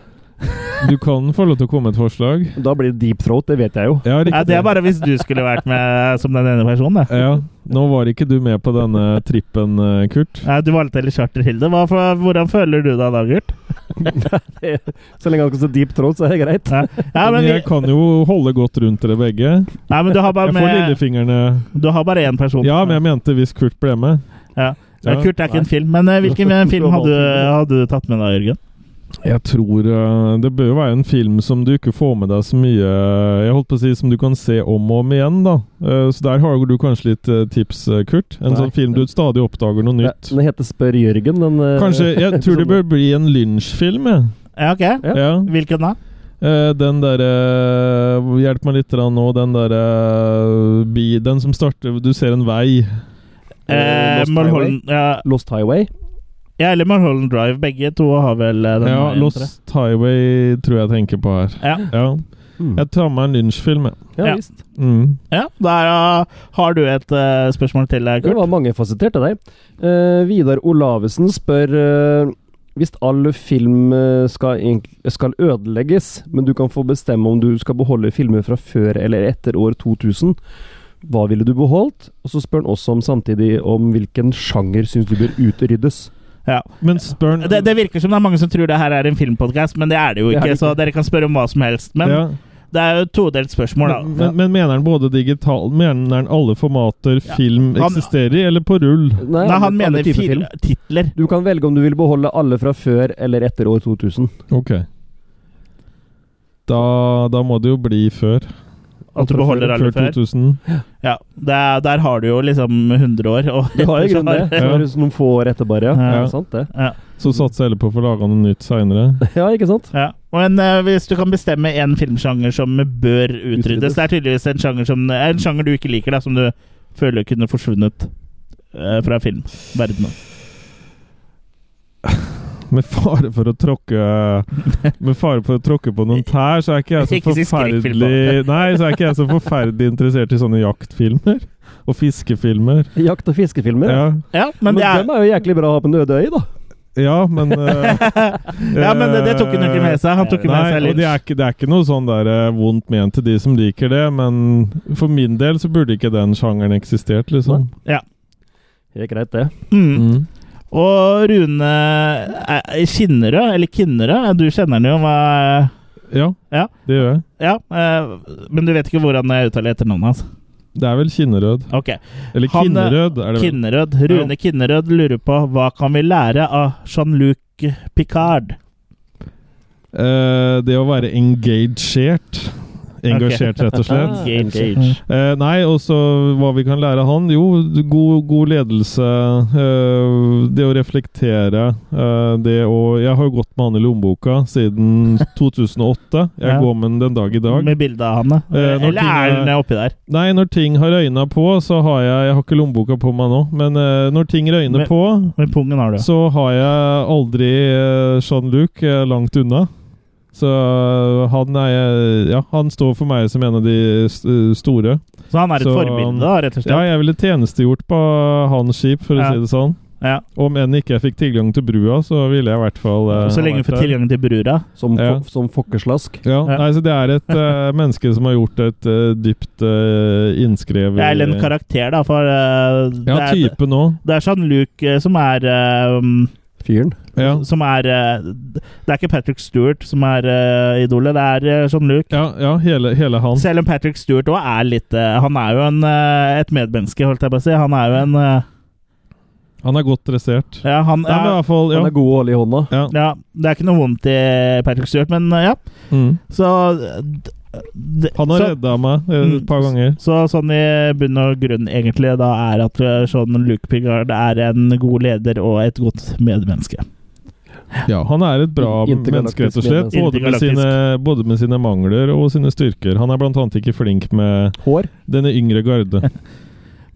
B: Du kan få lov til å komme med et forslag.
C: Da blir det deep throat, det vet jeg jo.
B: Ja,
A: Ja,
B: riktig.
A: det er bare hvis du skulle vært med eh, som den ene personen. da.
B: Ja. Nå var ikke du med på denne trippen, eh, Kurt.
A: Ja, du valgte heller charter, Hilde. Hva for, hvordan føler du deg da, Gurt?
C: Så lenge han kan se deep throat, så er det greit.
A: Ja, ja, men,
B: men jeg
A: vi,
B: kan jo holde godt rundt dere begge.
A: nei, men du har bare
B: Jeg får
A: med
B: lillefingrene
A: Du har bare én person.
B: Ja, men jeg mente hvis Kurt ble med.
A: Ja.
B: Ja.
A: Ja, Kurt er ikke en film, men eh, hvilken film hadde, hadde du tatt med deg, Jørgen?
B: Jeg tror eh, det bør jo være en film som du ikke får med deg så mye eh, Jeg holdt på å si som du kan se om og om igjen, da. Eh, Så der har du kanskje litt eh, tips, eh, Kurt. En
C: Nei.
B: sånn film du stadig oppdager noe nytt.
C: Den heter Spør Jørgen. Den, eh,
B: Kanskje, Jeg tror det bør bli en lynsjfilm, jeg.
A: Ja, ok.
C: Ja.
B: Ja.
A: Hvilken da?
B: Eh, Den derre Hjelp meg litt grann nå. Den derre bi... Den som starter Du ser en vei.
A: Eh,
C: Lost
A: Mulholland ja,
C: Lost Highway.
A: ja, eller Mulholland Drive. Begge to har vel eh, den.
B: Ja,
A: ene, tror jeg.
B: Lost Highway tror jeg tenker på her.
A: Ja.
B: Ja. Jeg tar med en lynsjfilm, jeg.
C: Ja,
A: Ja.
C: visst.
B: Mm.
A: ja. Der eh, har du et eh, spørsmål til deg,
C: Det
A: Kurt.
C: var mangefasettert av deg. Eh, Vidar Olavesen spør eh, hvis all film eh, skal, egent- skal ødelegges, men du kan få bestemme om du skal beholde filmer fra før eller etter år 2000, hva ville du beholdt? Og så spør han også om samtidig om hvilken sjanger syns du bør utryddes.
A: Ja.
B: Men spør
A: Det, det virker som det er mange som tror det her er en filmpodkast, men det er det jo
C: Det er
A: ikke.
C: det ikke.
A: Så dere kan spørre om hva som helst. Men
B: Ja.
A: det er jo et todelt spørsmål, da.
B: Men, men, men mener han både digital Mener han alle formater film
A: Han-
B: eksisterer i, eller på rull?
A: Nei,
C: alle-
A: han
C: alle
A: mener
C: typer
A: fil-
C: film.
A: titler.
C: Du kan velge om du vil beholde alle fra før eller etter år 2000.
B: Ok. Da, da må det jo bli før.
A: At du
C: fra
A: beholder alle
B: Før
A: før.
B: 2000.
A: Ja, der, der har du jo liksom 100 år. Og
C: Du har jo i grunnen det. Så
B: Ja.
C: er det noen få år etter bare, ja.
A: Ja.
C: ja. Sant, det.
A: Ja,
B: Så satser jeg heller på å få laga noe nytt seinere.
C: ja, ikke sant?
A: ja. Men eh, hvis du kan bestemme én filmsjanger som bør utryddes
C: Utryddes.
A: Det er tydeligvis en sjanger, som, eh, en sjanger du ikke liker, da, som du føler kunne forsvunnet eh, fra filmverdenen.
B: Med fare for å tråkke Med fare for å tråkke på noen tær, så er ikke jeg så
A: Ikke si skrekkfilm,
B: forferdelig Nei, så er ikke jeg så forferdelig interessert i sånne jaktfilmer. Og fiskefilmer.
C: Jakt- og fiskefilmer.
B: Ja,
A: Ja, men,
C: Men,
A: det er
C: dem er jo jæklig bra å ha på en øde øy, da.
B: ja men eh,
A: Ja, men det, det tok han jo ikke med seg. Han tok jo med seg
B: Nei, og
A: Lynch.
B: det er, ikke, det er ikke noe sånn der eh, vondt ment til de som liker det, men for min del så burde ikke den sjangeren eksistert, liksom.
C: Det er greit, det.
A: Mm.
B: Mm.
A: Og Rune eh, Kinnerød, eller Kinnerød, eh, du kjenner han jo. hva-
B: Ja,
A: Ja.
B: det gjør jeg.
A: Ja, eh, men du vet ikke hvordan jeg uttaler etternavnet hans.
B: Det er vel Kinnerød.
A: Ok,
B: Eller
A: Han, eh,
B: Kinnerød, er det vel.
A: Kinnerød. Rune Kinnerød lurer på hva kan vi lære av Jean-Luc Picard?
B: Eh, det å være engasjert. Engasjert, rett og slett.
C: Ah,
A: Gage.
C: Gage.
B: Eh, nei, og så hva vi kan lære av han? Jo, god, god ledelse. eh, det å reflektere. eh, det å Jeg har jo gått med han i lommeboka siden 2008. Jeg
A: Ja.
B: går med den den dag i dag.
A: Med bilde av han, da.
B: Eh,
A: Eller
B: når
A: er
B: ting er-
A: den oppi der?
B: Nei, når ting har øyna på, så har jeg Jeg har ikke lommeboka på meg nå, men eh, når ting røyner
A: Men-
B: på,
A: Med pungen har du.
B: så har jeg aldri eh, Jean-Luc eh, langt unna. Så eh, han er jeg- Ja, han står for meg som en av de eh, store.
A: Så han er et
B: så,
A: forbilde, da, rett og
B: Ja,
A: slett?
B: jeg ville tjenestegjort på hans skip, for å
A: Ja.
B: si det sånn.
A: Ja.
B: Om enn ikke jeg fikk tilgang til brua, så ville jeg i hvert fall eh,
A: Så lenge du
B: ha
A: får
B: vært der.
A: tilgang til brura.
C: Som,
B: Ja.
C: fo som fokkeslask.
B: Ja,
A: Ja.
B: Nei, så det er et eh, menneske som har gjort et eh, dypt eh, innskrevet
A: Eller en karakter, da, for eh, det,
B: Ja,
A: er,
B: type nå.
A: det er Jean-Luc eh, som er eh, um,
C: Fyren.
B: Ja.
A: Som er eh, Det er ikke Patrick Stewart som er eh, idolet, det er eh, Jean-Luc.
B: Ja, ja hele, hele han.
A: Selv om Patrick Stewart òg er litt eh, Han er jo en, eh, et medmenneske, holdt jeg på å si. Han er jo en eh,
B: Han er godt dressert.
A: Ja, han
B: Nei, men i
A: ja,
B: hvert fall, ja.
C: Han er god og årlig i hånda.
B: ja.
A: ja, Det er ikke noe vondt i Patrick Stewart, men eh, ja.
B: Mm.
A: Så eh, d- d-
B: Han har
A: så-
B: redda meg eh, et
A: Mm.
B: par ganger.
A: Så sånn i bunn og grunn egentlig da er at eh, Jean-Luc Pigard er en god leder og et godt medmenneske.
B: Ja, han er et bra
C: Intergalaktisk
B: menneske, rett og slett.
C: menneske.
B: Både med, sine, både med sine mangler og sine styrker. Han er blant annet ikke flink med
C: Hår.
B: denne yngre garde.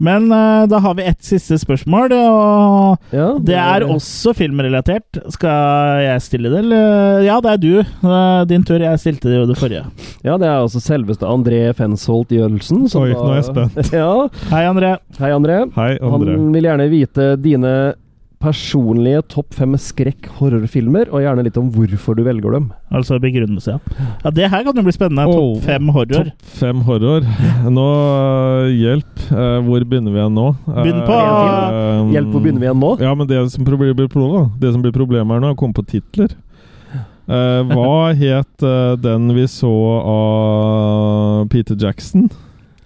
A: Men eh, da har vi ett siste spørsmål, eh, og
C: Ja,
A: det er også filmrelatert. Skal jeg stille det, eller? Ja, det er du. Eh, Din tur. Jeg stilte det jo det forrige.
C: Ja, det er altså selveste André Fensholt Gjølsen. som
B: Oi,
C: da-
B: nå er jeg spent.
C: ja.
A: Hei, André.
C: Hei, André.
B: Hei, André.
C: Han vil gjerne vite dine personlige topp fem skrekk-horrorfilmer, og gjerne litt om hvorfor du velger dem.
A: Altså begrunnelse. Ja, ja det her kan jo bli spennende.
B: Oh,
A: Topp fem horror.
B: Topp fem horror. Nå øh, Hjelp. Eh, Hvor begynner vi igjen nå? Eh,
A: Begynn på-
C: Hjelp, hvor begynner vi igjen nå?
B: Mm. Ja, men det som proble- blir problemet, det som blir problemet her nå, er å komme på titler. Eh, hva het eh, den vi så av Peter Jackson?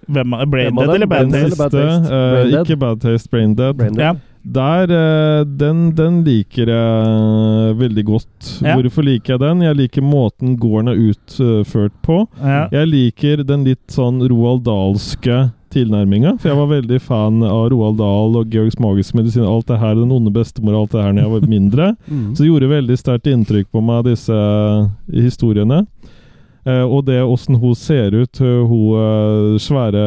A: Hvem er Brain
C: Hvem av
A: Dead
C: dem?
A: eller Bad
C: Brain Dead
A: Taste?
C: eller
B: Siste,
C: Bad Taste?
B: eh,
C: Brain Dead?
B: ikke Bad Taste, Brain Dead.
C: Brain Dead.
A: Ja.
B: Der, eh, den, den liker jeg veldig godt.
A: Ja.
B: Hvorfor liker jeg den? Jeg liker måten gården er utført på.
A: Ja.
B: Jeg liker den litt sånn Roald Dahlske tilnærminga. For jeg var veldig fan av Roald Dahl og Georgs magiske medisin. Alt det her, Den onde bestemor og alt det her når jeg var mindre.
C: Mm.
B: Så det gjorde veldig sterkt inntrykk på meg, disse historiene. Eh, og det åssen hun ser ut, hun eh, svære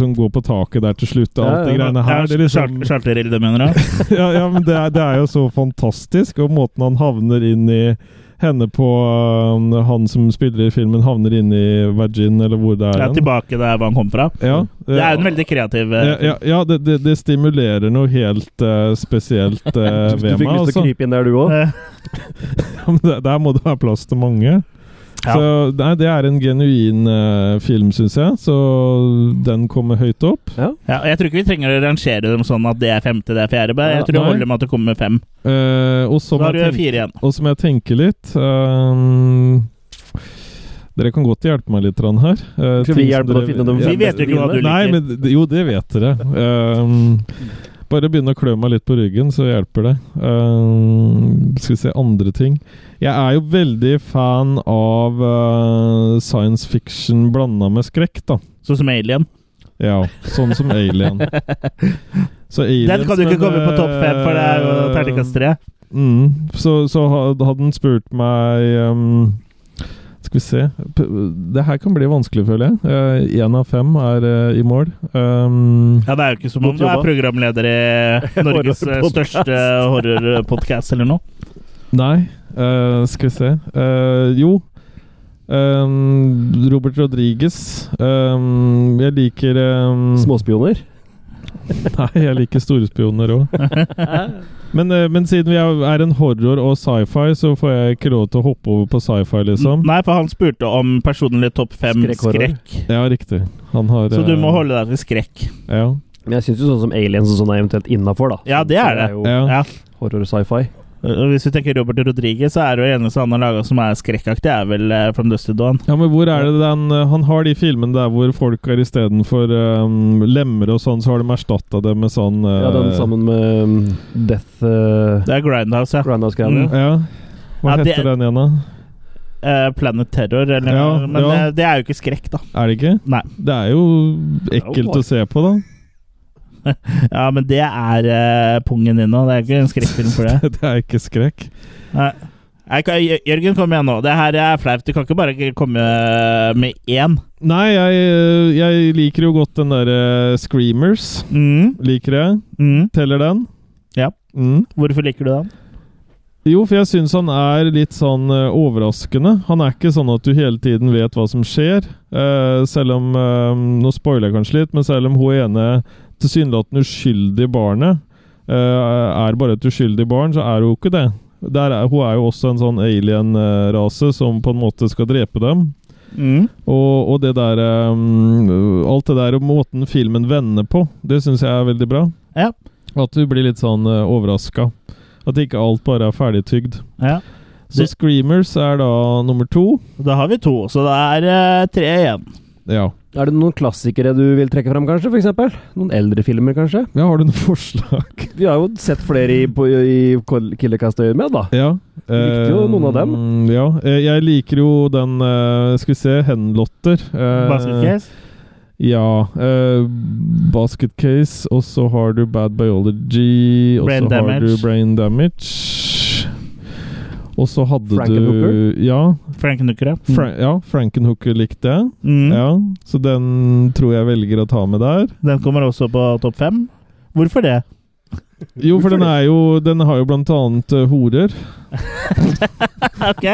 B: som går på taket der til slutt. og Alt
C: Ja,
B: det
C: ja.
B: greiene her. Det er liksom,
A: Charter-Ilde, mener du?
B: ja, ja, men det er, det er jo så fantastisk, og måten han havner inn i henne på øhm, Han som spiller i filmen, havner inn i Virgin, eller hvor det er.
A: Ja,
B: hen.
A: tilbake der hvor han kom fra.
B: Ja,
A: Det er jo en veldig kreativ eh,
B: ja, ja, ja det, det, det stimulerer noe helt eh, spesielt eh,
C: Du, du
B: ved meg.
C: fikk lyst til å
B: Altså.
C: krype inn der, du òg?
A: eh,
B: Ja, men der, der må det være plass til mange.
A: Ja.
B: Så nei, Det er en genuin eh, film, syns jeg. Så den kommer høyt opp.
A: Ja, og jeg tror ikke vi trenger å rangere dem sånn at det er femte, det er fjerde. bare Jeg tror det
B: Nei.
A: holder med at det kommer med fem.
B: Eh, og
A: Så
B: som
A: da har
B: jeg
A: du
B: tenk-
A: fire igjen.
B: Og som jeg tenker litt ehm, Dere kan godt hjelpe meg litt grann her. Eh,
C: Skal vi
B: ting som
C: hjelpe deg å
B: dere-
C: finne de
A: Vi
C: fem
A: vet jo ikke hva
C: beste
A: du
C: filmene?
B: Nei,
A: liker.
B: men det- jo, det vet dere. Ehm, bare begynne å klø meg litt på ryggen, så hjelper det. Ehm, skal vi se andre ting Jeg er jo veldig fan av eh, science fiction blanda med skrekk, da.
A: Sånn som Alien.
B: Ja, sånn som Alien. Så
A: Den kan du ikke
B: aliens, men,
A: komme på topp fem, for det er jo
B: eh,
A: terningkast tre.
B: Mm. Så, så ha- hadde han spurt meg ehm, Skal vi se P Det her kan bli vanskelig, føler jeg. Én av fem er eh, i mål. Ehm,
A: Ja, det er jo ikke som om
C: Godt
A: du er
C: jobba.
A: programleder i Norges eh,
C: Horrorpodcast.
A: største horrorpodkast eller noe.
B: nei, eh, skal vi se Eh, Jo. Ehm, Robert Rodriguez. Ehm, jeg liker ehm,
C: Småspioner?
B: Nei, jeg liker storspioner òg. Men, eh, men siden vi er er en horror og sci-fi, så får jeg ikke lov til å hoppe over på sci-fi, liksom.
A: Nei, for han spurte om personlig topp fem
C: Skrekkhorror.
A: skrekk.
B: Ja, riktig. Han har
A: Så du må
B: eh,
A: holde deg til skrekk.
B: Ja.
C: Men jeg syns jo sånn som aliens og sånn er eventuelt innafor, da.
A: Ja, det er det.
C: jo
B: ja.
A: Ja.
C: horror sci-fi.
A: Og Hvis vi tenker Robert Rodriguez, så er det jo eneste han har laga som er skrekkaktig, er vel eh, From Dust to Dawn.
B: Ja, men hvor er det den eh, Han har de filmene der hvor folk er istedenfor um, lemmer og sånn, så har de erstatta det med sånn uh,
C: Ja, den sammen med um, Death uh,
A: Det er Grindhouse, ja.
C: Grindhouse-greiene.
A: Mm.
B: Ja. Hva
A: Ja, det-
B: heter den igjen, da?
A: eh, Planet Terror, eller,
B: Ja,
A: men
B: ja.
A: eh, det er jo ikke skrekk, da.
B: Er det ikke?
A: Nei.
B: Det er jo ekkelt å se på, da.
A: Ja, men det er eh, pungen din nå. Det er ikke en skrekkfilm for det.
B: Det er ikke skrekk.
A: Nei. Jeg kan, Jørgen, kom igjen nå. Det her er flaut. Du kan ikke bare komme eh, med én.
B: Nei, jeg, eh, jeg liker jo godt den derre Screamers.
A: Mm,
B: Liker jeg.
A: mm.
B: Teller den.
A: Ja.
B: Mm.
A: Hvorfor liker du den?
B: Jo, for jeg syns han er litt sånn eh, overraskende. Han er ikke sånn at du hele tiden vet hva som skjer. Eh, selv om eh, Nå spoiler jeg kanskje litt, men selv om hun ene tilsynelatende uskyldig barnet eh, er bare et uskyldig barn, så er hun ikke det. Der er, hun er jo også en sånn alien-rase som på en måte skal drepe dem.
A: Mm.
B: Og, og det der um, Alt det der og måten filmen vender på, det syns jeg er veldig bra.
A: Ja.
B: At du blir litt sånn uh, overraska. At ikke alt bare er ferdigtygd.
A: ja.
B: Så
A: Det-
B: Screamers er da nummer to.
A: Da har vi to, så det er eh, tre igjen.
B: Ja.
C: Er det noen klassikere du vil trekke fram, kanskje? For eksempel? noen eldre filmer, kanskje?
B: ja. Har du noen forslag?
C: Vi har jo sett flere i, på- i Killerkast-øyemed, da.
B: ja.
A: Eh,
C: Likte jo noen av dem.
B: Eh, ja. Eh, Jeg liker jo den eh, Skal vi se Henlotter. eh,
A: Basket case.
B: Ja. eh, basket case, og så har du Bad Biology, og
A: Brain
B: så har
A: Damage.
B: du Brain Damage. Og så hadde
C: Frankenhooker?
B: du Ja,
A: Frankenhookere.
B: Fra ja Frankenhooker likte jeg.
A: Mm.
B: Ja, så den tror jeg velger å ta med der.
A: Den kommer også på topp fem. Hvorfor det?
B: Jo, for den er jo Den har jo blant annet eh, horer.
A: Ok.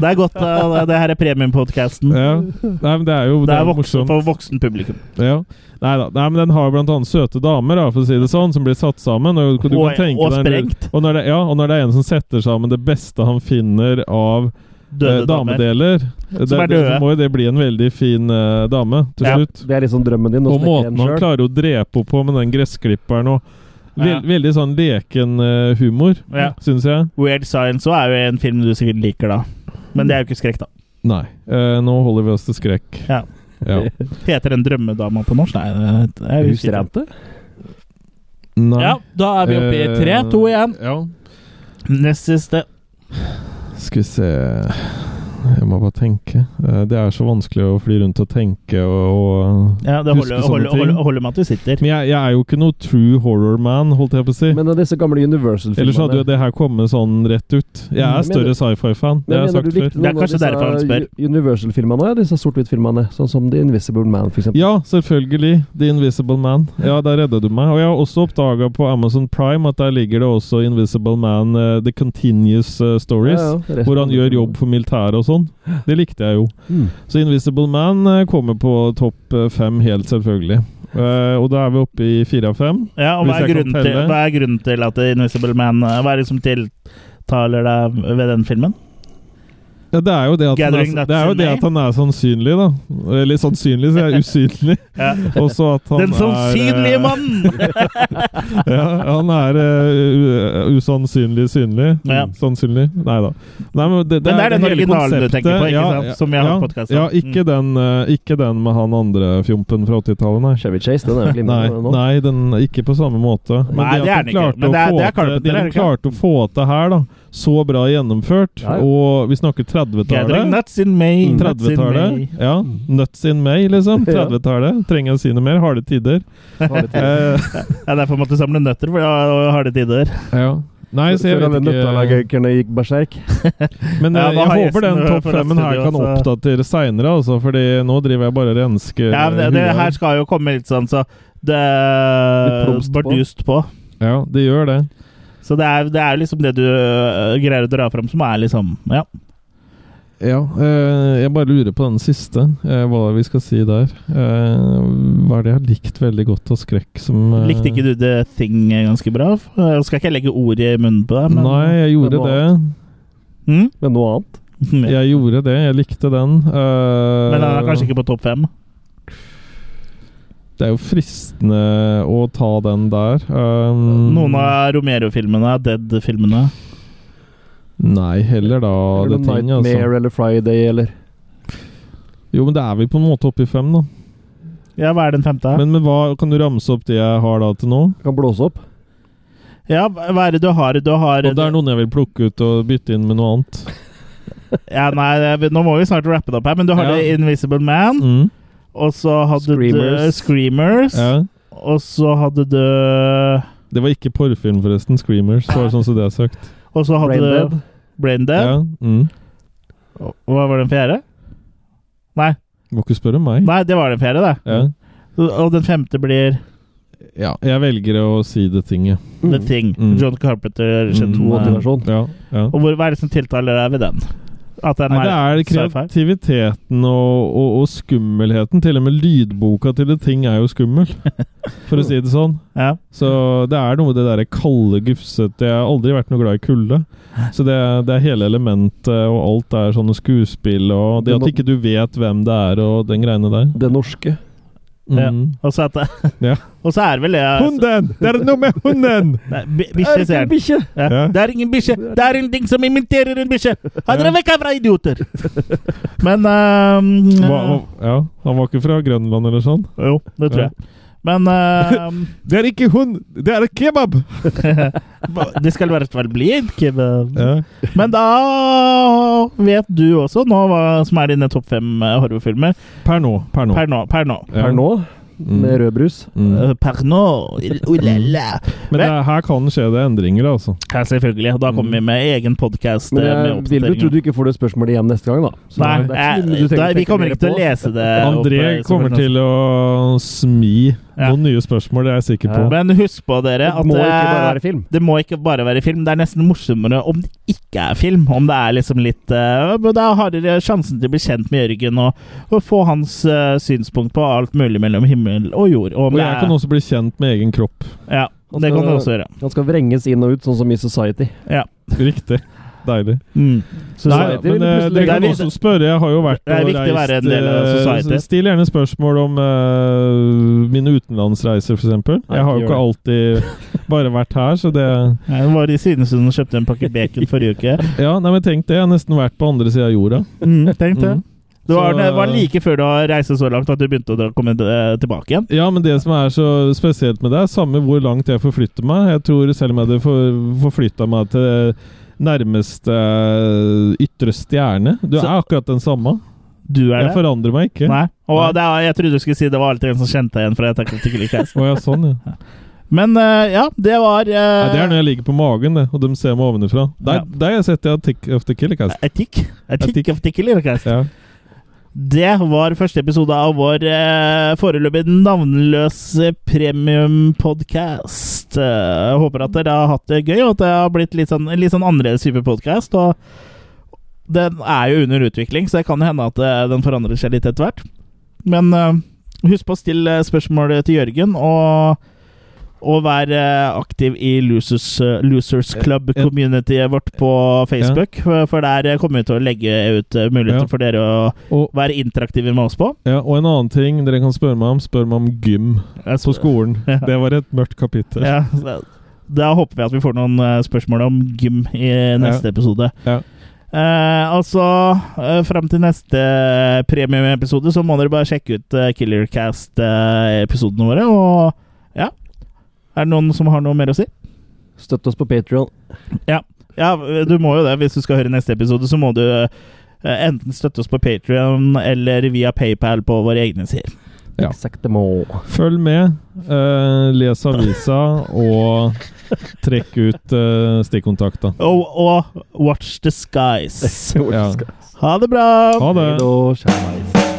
A: Det er godt eh, det her er premiumpodkasten.
B: Ja. Nei, men det er jo
A: Det er voksen,
B: morsomt.
A: for voksen publikum.
B: Ja. Nei da. Nei, men den har jo blant annet søte damer, da, for å si det sånn, som blir satt sammen. Og, du
A: Og-
B: kan tenke
A: og
B: deg-
A: sprengt.
B: Og når, det, ja, og når det er en som setter sammen det beste han finner av
A: Døde
B: eh,
A: damer.
B: damedeler, eh,
A: Som er
B: det-
A: døde.
B: så må jo det bli en veldig fin eh, dame til
A: Ja.
B: slutt.
C: Det er liksom drømmen din. å
B: Og
C: snekke en
B: måten han
C: selv.
B: klarer å drepe henne på med den gressklipperen og
A: Ja.
B: vel- Veldig sånn leken eh, humor,
A: Ja.
B: syns jeg.
A: Weird Science også er jo en film du sikkert liker, da. Men det er jo ikke skrekk, da.
B: Nei. Eh, nå holder vi oss til skrekk.
A: Ja.
B: Ja.
A: Heter den drømmedama på norsk? Nei, det er jeg usikker.
C: Husrente?
B: Nei.
A: Ja, da er vi oppe i tre,
B: Eh,
A: to igjen.
B: Ja.
A: Nest siste.
B: Skal vi se Jeg må bare tenke. Eh, Det er så vanskelig å fly rundt og tenke og, og
A: Ja, det holder,
B: Husker sånne
A: holder,
B: ting.
A: holder, holder med at du sitter.
B: Men jeg, jeg er jo ikke noe true horror man, holdt jeg på å si.
C: Men av disse gamle Universal-filmene
B: Ellers hadde jo det her kommet sånn rett ut. Jeg
C: Mm,
B: er
C: Men mener-
B: større sci-fi-fan, det har jeg sagt før.
A: Det er kanskje derfor han spør.
C: Universal-filmene, ja, disse sort-hvitt-filmene, sånn som The Invisible Man, for eksempel.
B: Ja, selvfølgelig. The Invisible Man. Ja, der redda du meg. Og jeg har også oppdaga på Amazon Prime at der ligger det også Invisible Man eh, The Continuous eh, Stories.
C: resten
B: Hvor han
C: av
B: gjør
C: filmene.
B: jobb for militæret og sånn. Det likte jeg jo.
C: Mm.
B: Så Invisible Man eh, kommer på topp eh, fem, helt selvfølgelig. Eh, og da er vi oppe i fire av fem.
A: Ja, og hva
B: Hvis
A: er,
B: jeg kan
A: grunnen til,
B: telle.
A: hva er grunnen til at Invisible Man eh, Hva er det som tiltaler deg ved den filmen?
B: Ja, det er jo det at, han er,
A: Gathering
B: så- det er, jo
A: nuts
B: det
A: and
B: at han er sannsynlig, da. Eller sannsynlig, så jeg er usynlig.
A: Ja.
B: Også at han
A: Den
B: er, eh,
A: sannsynlige mannen!
B: Ja, han er eh, u- usannsynlig synlig.
A: Ja.
B: Sannsynlig. Nei da. Nei, men
A: Men
B: det,
A: det er den
B: hele
A: originalen du
B: konseptet-
A: tenker på, ikke
B: ja,
A: sant? Som jeg har
B: ja,
A: på podcasten.
B: Ja, ikke, den, eh, ikke den med han andre fjompen fra 80-tallet, nei.
C: Chevy Chase, den er jo
B: Nei,
C: glimrende nå.
B: nei den, ikke på samme måte. Men
A: Nei, det er
B: at
A: den ikke.
B: de klarte
A: Men
B: å
A: det er-
B: få
A: det er klart-
B: til-
A: det er
B: de
A: det klart.
B: klarte å få til her, da. Så bra gjennomført.
C: Ja, ja.
B: Og vi snakker
A: Gathering
B: 30-tallet.
A: nuts in May. nuts in
B: 30-tallet.
A: May.
B: Ja. Nuts in May, liksom.
C: Ja.
B: 30-tallet. Trenger jeg å si noe mer? Harde tider.
C: Har litt-
B: Eh,
A: Ja, derfor måtte jeg samle nøtter, for jeg har harde tider.
B: ja. Nei, så jeg
C: Før alle
B: vet ikke
C: nøttalagøkerne gikk berserk.
B: Men
A: Ja,
B: eh,
A: da har
B: jeg
A: jeg
B: håper den
A: gjesten
B: topp
A: for
B: femmen
A: neste
B: her
A: video,
B: kan
A: så-
B: oppdatere seinere, altså. Fordi nå driver jeg bare og rensker
A: Ja, men det, det
B: huet.
A: her skal jo komme litt sånn, så det
C: Litt promst på.
A: Bardust på.
B: Ja, det gjør det.
A: Så det er, det er liksom det du øh, greier å dra fram, som er liksom Ja.
B: Ja, eh, jeg bare lurer på den siste, eh, hva vi skal si der. Eh, hva er det jeg har likt veldig godt av skrekk som eh,
A: Likte ikke du The Thing ganske bra? Jeg skal ikke legge ord i munnen på deg, men
B: Nei, jeg gjorde
C: Men
B: det.
C: hva
A: Mm?
C: Men noe annet?
A: Ja.
B: Jeg gjorde det, jeg likte den. Eh,
A: Men den er kanskje ikke på topp fem?
B: Det er jo fristende å ta den der. Um,
A: Noen av Romero-filmene, Dead-filmene.
B: Nei, heller da
C: eller
B: det
C: noe
B: ting, altså.
C: Nightmare eller Friday eller
B: Jo, men det er vi på en måte oppe i fem, da.
A: Ja, hva er den femte?
B: Men, men hva kan du ramse opp de jeg har da til nå?
C: Kan blåse opp.
A: ja, hva er det du har? Du har
B: Og det er noen jeg vil plukke ut og bytte inn med noe annet.
A: Ja, nei, det- nå må vi snart rappe det opp her, men du har
B: Ja.
A: det Invisible Man,
B: Mm.
A: og så hadde du
C: Screamers.
A: Screamers,
B: Ja.
A: og så hadde du
B: Det var ikke porrfilm, forresten. 'Screamers', bare sånn som det er sagt.
A: Og så hadde
C: Brain
A: du
C: Dead.
A: Brain Dead.
B: Ja. Mm.
A: Og Hva var den fjerde? Nei,
B: Må ikke spørre meg.
A: nei, det var den fjerde, det.
B: Ja.
A: Og den femte blir
B: ja. Jeg velger å si det tinget.
A: The Thing.
B: Mm.
A: John Carpenter sin
B: Mm.
A: eh,
C: Motivasjon.
B: Ja. ja.
A: Og hvor, hva er det som tiltaler deg ved den? At den
B: Nei, det er
A: sci-fi?
B: kreativiteten og, og, og skummelheten. Til og med lydboka til det ting er jo skummel, for å si det sånn.
A: Ja.
B: Så det er noe med det derre kalde, gufsete Jeg har aldri vært noe glad i kulde. Så det, det er hele elementet, og alt er sånne skuespill, og det
C: Du
B: at
C: må-
B: ikke du vet hvem det er, og den greiene der.
C: Det norske.
B: Mm.
A: Og så at det,
B: Ja.
A: Og så er det vel det
B: Hunden! Det er noe med hunden!
A: Nei, bi- Bikkje, sier han.
C: bikkje!
A: Ja.
B: Ja.
A: Det er ingen bikkje! Det er ingenting som imiterer en bikkje! Ha dere
B: Ja.
A: vekk herfra, idioter! Men ehm,
B: Hva, hva- ja, han var ikke fra Grønland eller sånn?
A: Jo, det tror
B: Ja.
A: jeg. Men ehm,
B: Det er ikke hund, det er kebab!
A: det skal i hvert fall bli en kebab.
B: Ja.
A: Men da vet du også nå hva som er dine topp fem eh, horrorfilmer
B: Per nå. Per nå.
A: per nå. Per nå.
B: Ja.
C: Per nå,
B: Mm.
C: med rød brus.
B: Mm.
A: Eh, Per nå. Ulala.
B: Men det, er- her kan skje det endringer, altså.
A: Ja, selvfølgelig. Og Da kommer vi med egen podkast
C: Men
A: med
C: jeg vil jo tro
A: oppdateringer.
C: du ikke får det spørsmålet igjen neste gang, da. Så
A: Nei,
C: det er ikke så mye
A: eh,
C: du trenger
A: da,
C: å
A: vi
C: tenke
A: kommer
C: mer
A: ikke til
C: på.
A: å lese det.
B: André
A: opp, eh,
B: kommer
A: selvfølgelig.
B: til å smi
A: Ja.
B: noen nye spørsmål, det er jeg sikker på.
C: Ja.
A: Men husk på, dere,
C: Det
A: at
C: må ikke bare
A: eh,
C: være film.
A: det må ikke bare være film. Det er nesten morsommere om det ikke er film. Om det er liksom litt eh, men Da har dere sjansen til å bli kjent med Jørgen og, og få hans eh, synspunkt på alt mulig mellom himmel og jord. Og om
B: Og
A: det
B: jeg kan
A: er,
B: også bli kjent med egen kropp.
A: ja, det
C: Altså-
A: kan dere også gjøre.
C: Han skal vrenges inn og ut, sånn som i Society.
B: Riktig. Deilig.
A: Mm.
C: Nei,
B: Nei,
C: det vil
B: men eh,
C: plutselig-
B: dere kan
A: Det er
B: også spørre. Jeg har jo vært
A: Det er viktig å være en del av
B: eh,
A: society.
B: Still gjerne spørsmål om eh, mine utenlandsreiser, f.eks.
C: Nei,
B: Jeg har jo
C: ikke
B: ikke alltid bare vært her, så det
A: Jeg var i Svinesund og kjøpte en pakke bacon forrige uke.
B: Ja, nei, men tenk det. Jeg har nesten vært på andre sida av jorda.
A: Mm, tenk det.
B: Mm.
A: Det var,
B: Så-
A: det var like før du reiste så langt at du begynte å dra- komme eh, tilbake igjen.
B: Ja, men det som er så spesielt med det, er samme hvor langt jeg forflytter meg. Jeg tror selv om jeg hadde for, forflytta meg til nærmeste eh, ytre stjerne Du
A: Så-
B: er akkurat den samme.
A: Du er
B: Jeg
A: det.
B: forandrer meg ikke.
A: Nei. Og
B: Nei.
A: det er, jeg trodde du skulle si det var alltid en som kjente deg igjen. fra jeg taklet ikke like.
B: Å ja, sånn, ja.
A: Men eh, ja, det var uh,
B: Nei, det er når jeg ligger på magen, det, og de ser meg ovenfra. Der,
A: Ja.
B: der setter jeg Tick of the Killercast.
A: Etikk. Etikk
B: Etikk.
A: of the Killer Cast.
B: Ja.
A: Det var første episode av vår eh, foreløpig navnløse premiumpodkast. Eh, jeg håper at dere har hatt det gøy, og at det har blitt litt sånn, litt sånn annerledes type podkast. Den er jo under utvikling, så det kan jo hende at eh, den forandrer seg litt etter hvert. Men eh, husk på å stille spørsmål til Jørgen, og, og vær eh, aktiv i Losers, eh, Losers
B: En-
A: Club-communityet vårt på Facebook, for- for der kommer vi til å legge ut eh, muligheter
B: Ja.
A: for dere å
B: Og,
A: være interaktive med oss på.
B: ja, og en annen ting dere kan spørre meg om, spør meg om gym på skolen.
A: Ja.
B: Det var et mørkt kapittel.
A: Ja, så da håper vi at vi får noen eh, spørsmål om gym i neste episode.
B: Ja.
A: Eh, altså, eh, fram til neste premieepisode så må dere bare sjekke ut eh, Killercast-episodene våre. Og ja Er det noen som har noe mer å si?
C: Støtt oss på Patrion.
A: Ja, eh, du må jo det. Hvis du skal høre neste episode, så må du eh, enten støtte oss på Patrion eller via PayPal på våre egne sider.
B: Ja.
C: Exactemo.
B: Følg med, eh, les avisa, og trekk ut eh, stikkontakta.
A: Og, og watch the skies.
B: Ja.
A: Ha det bra!
B: Ha det!
C: Hei da, kjære.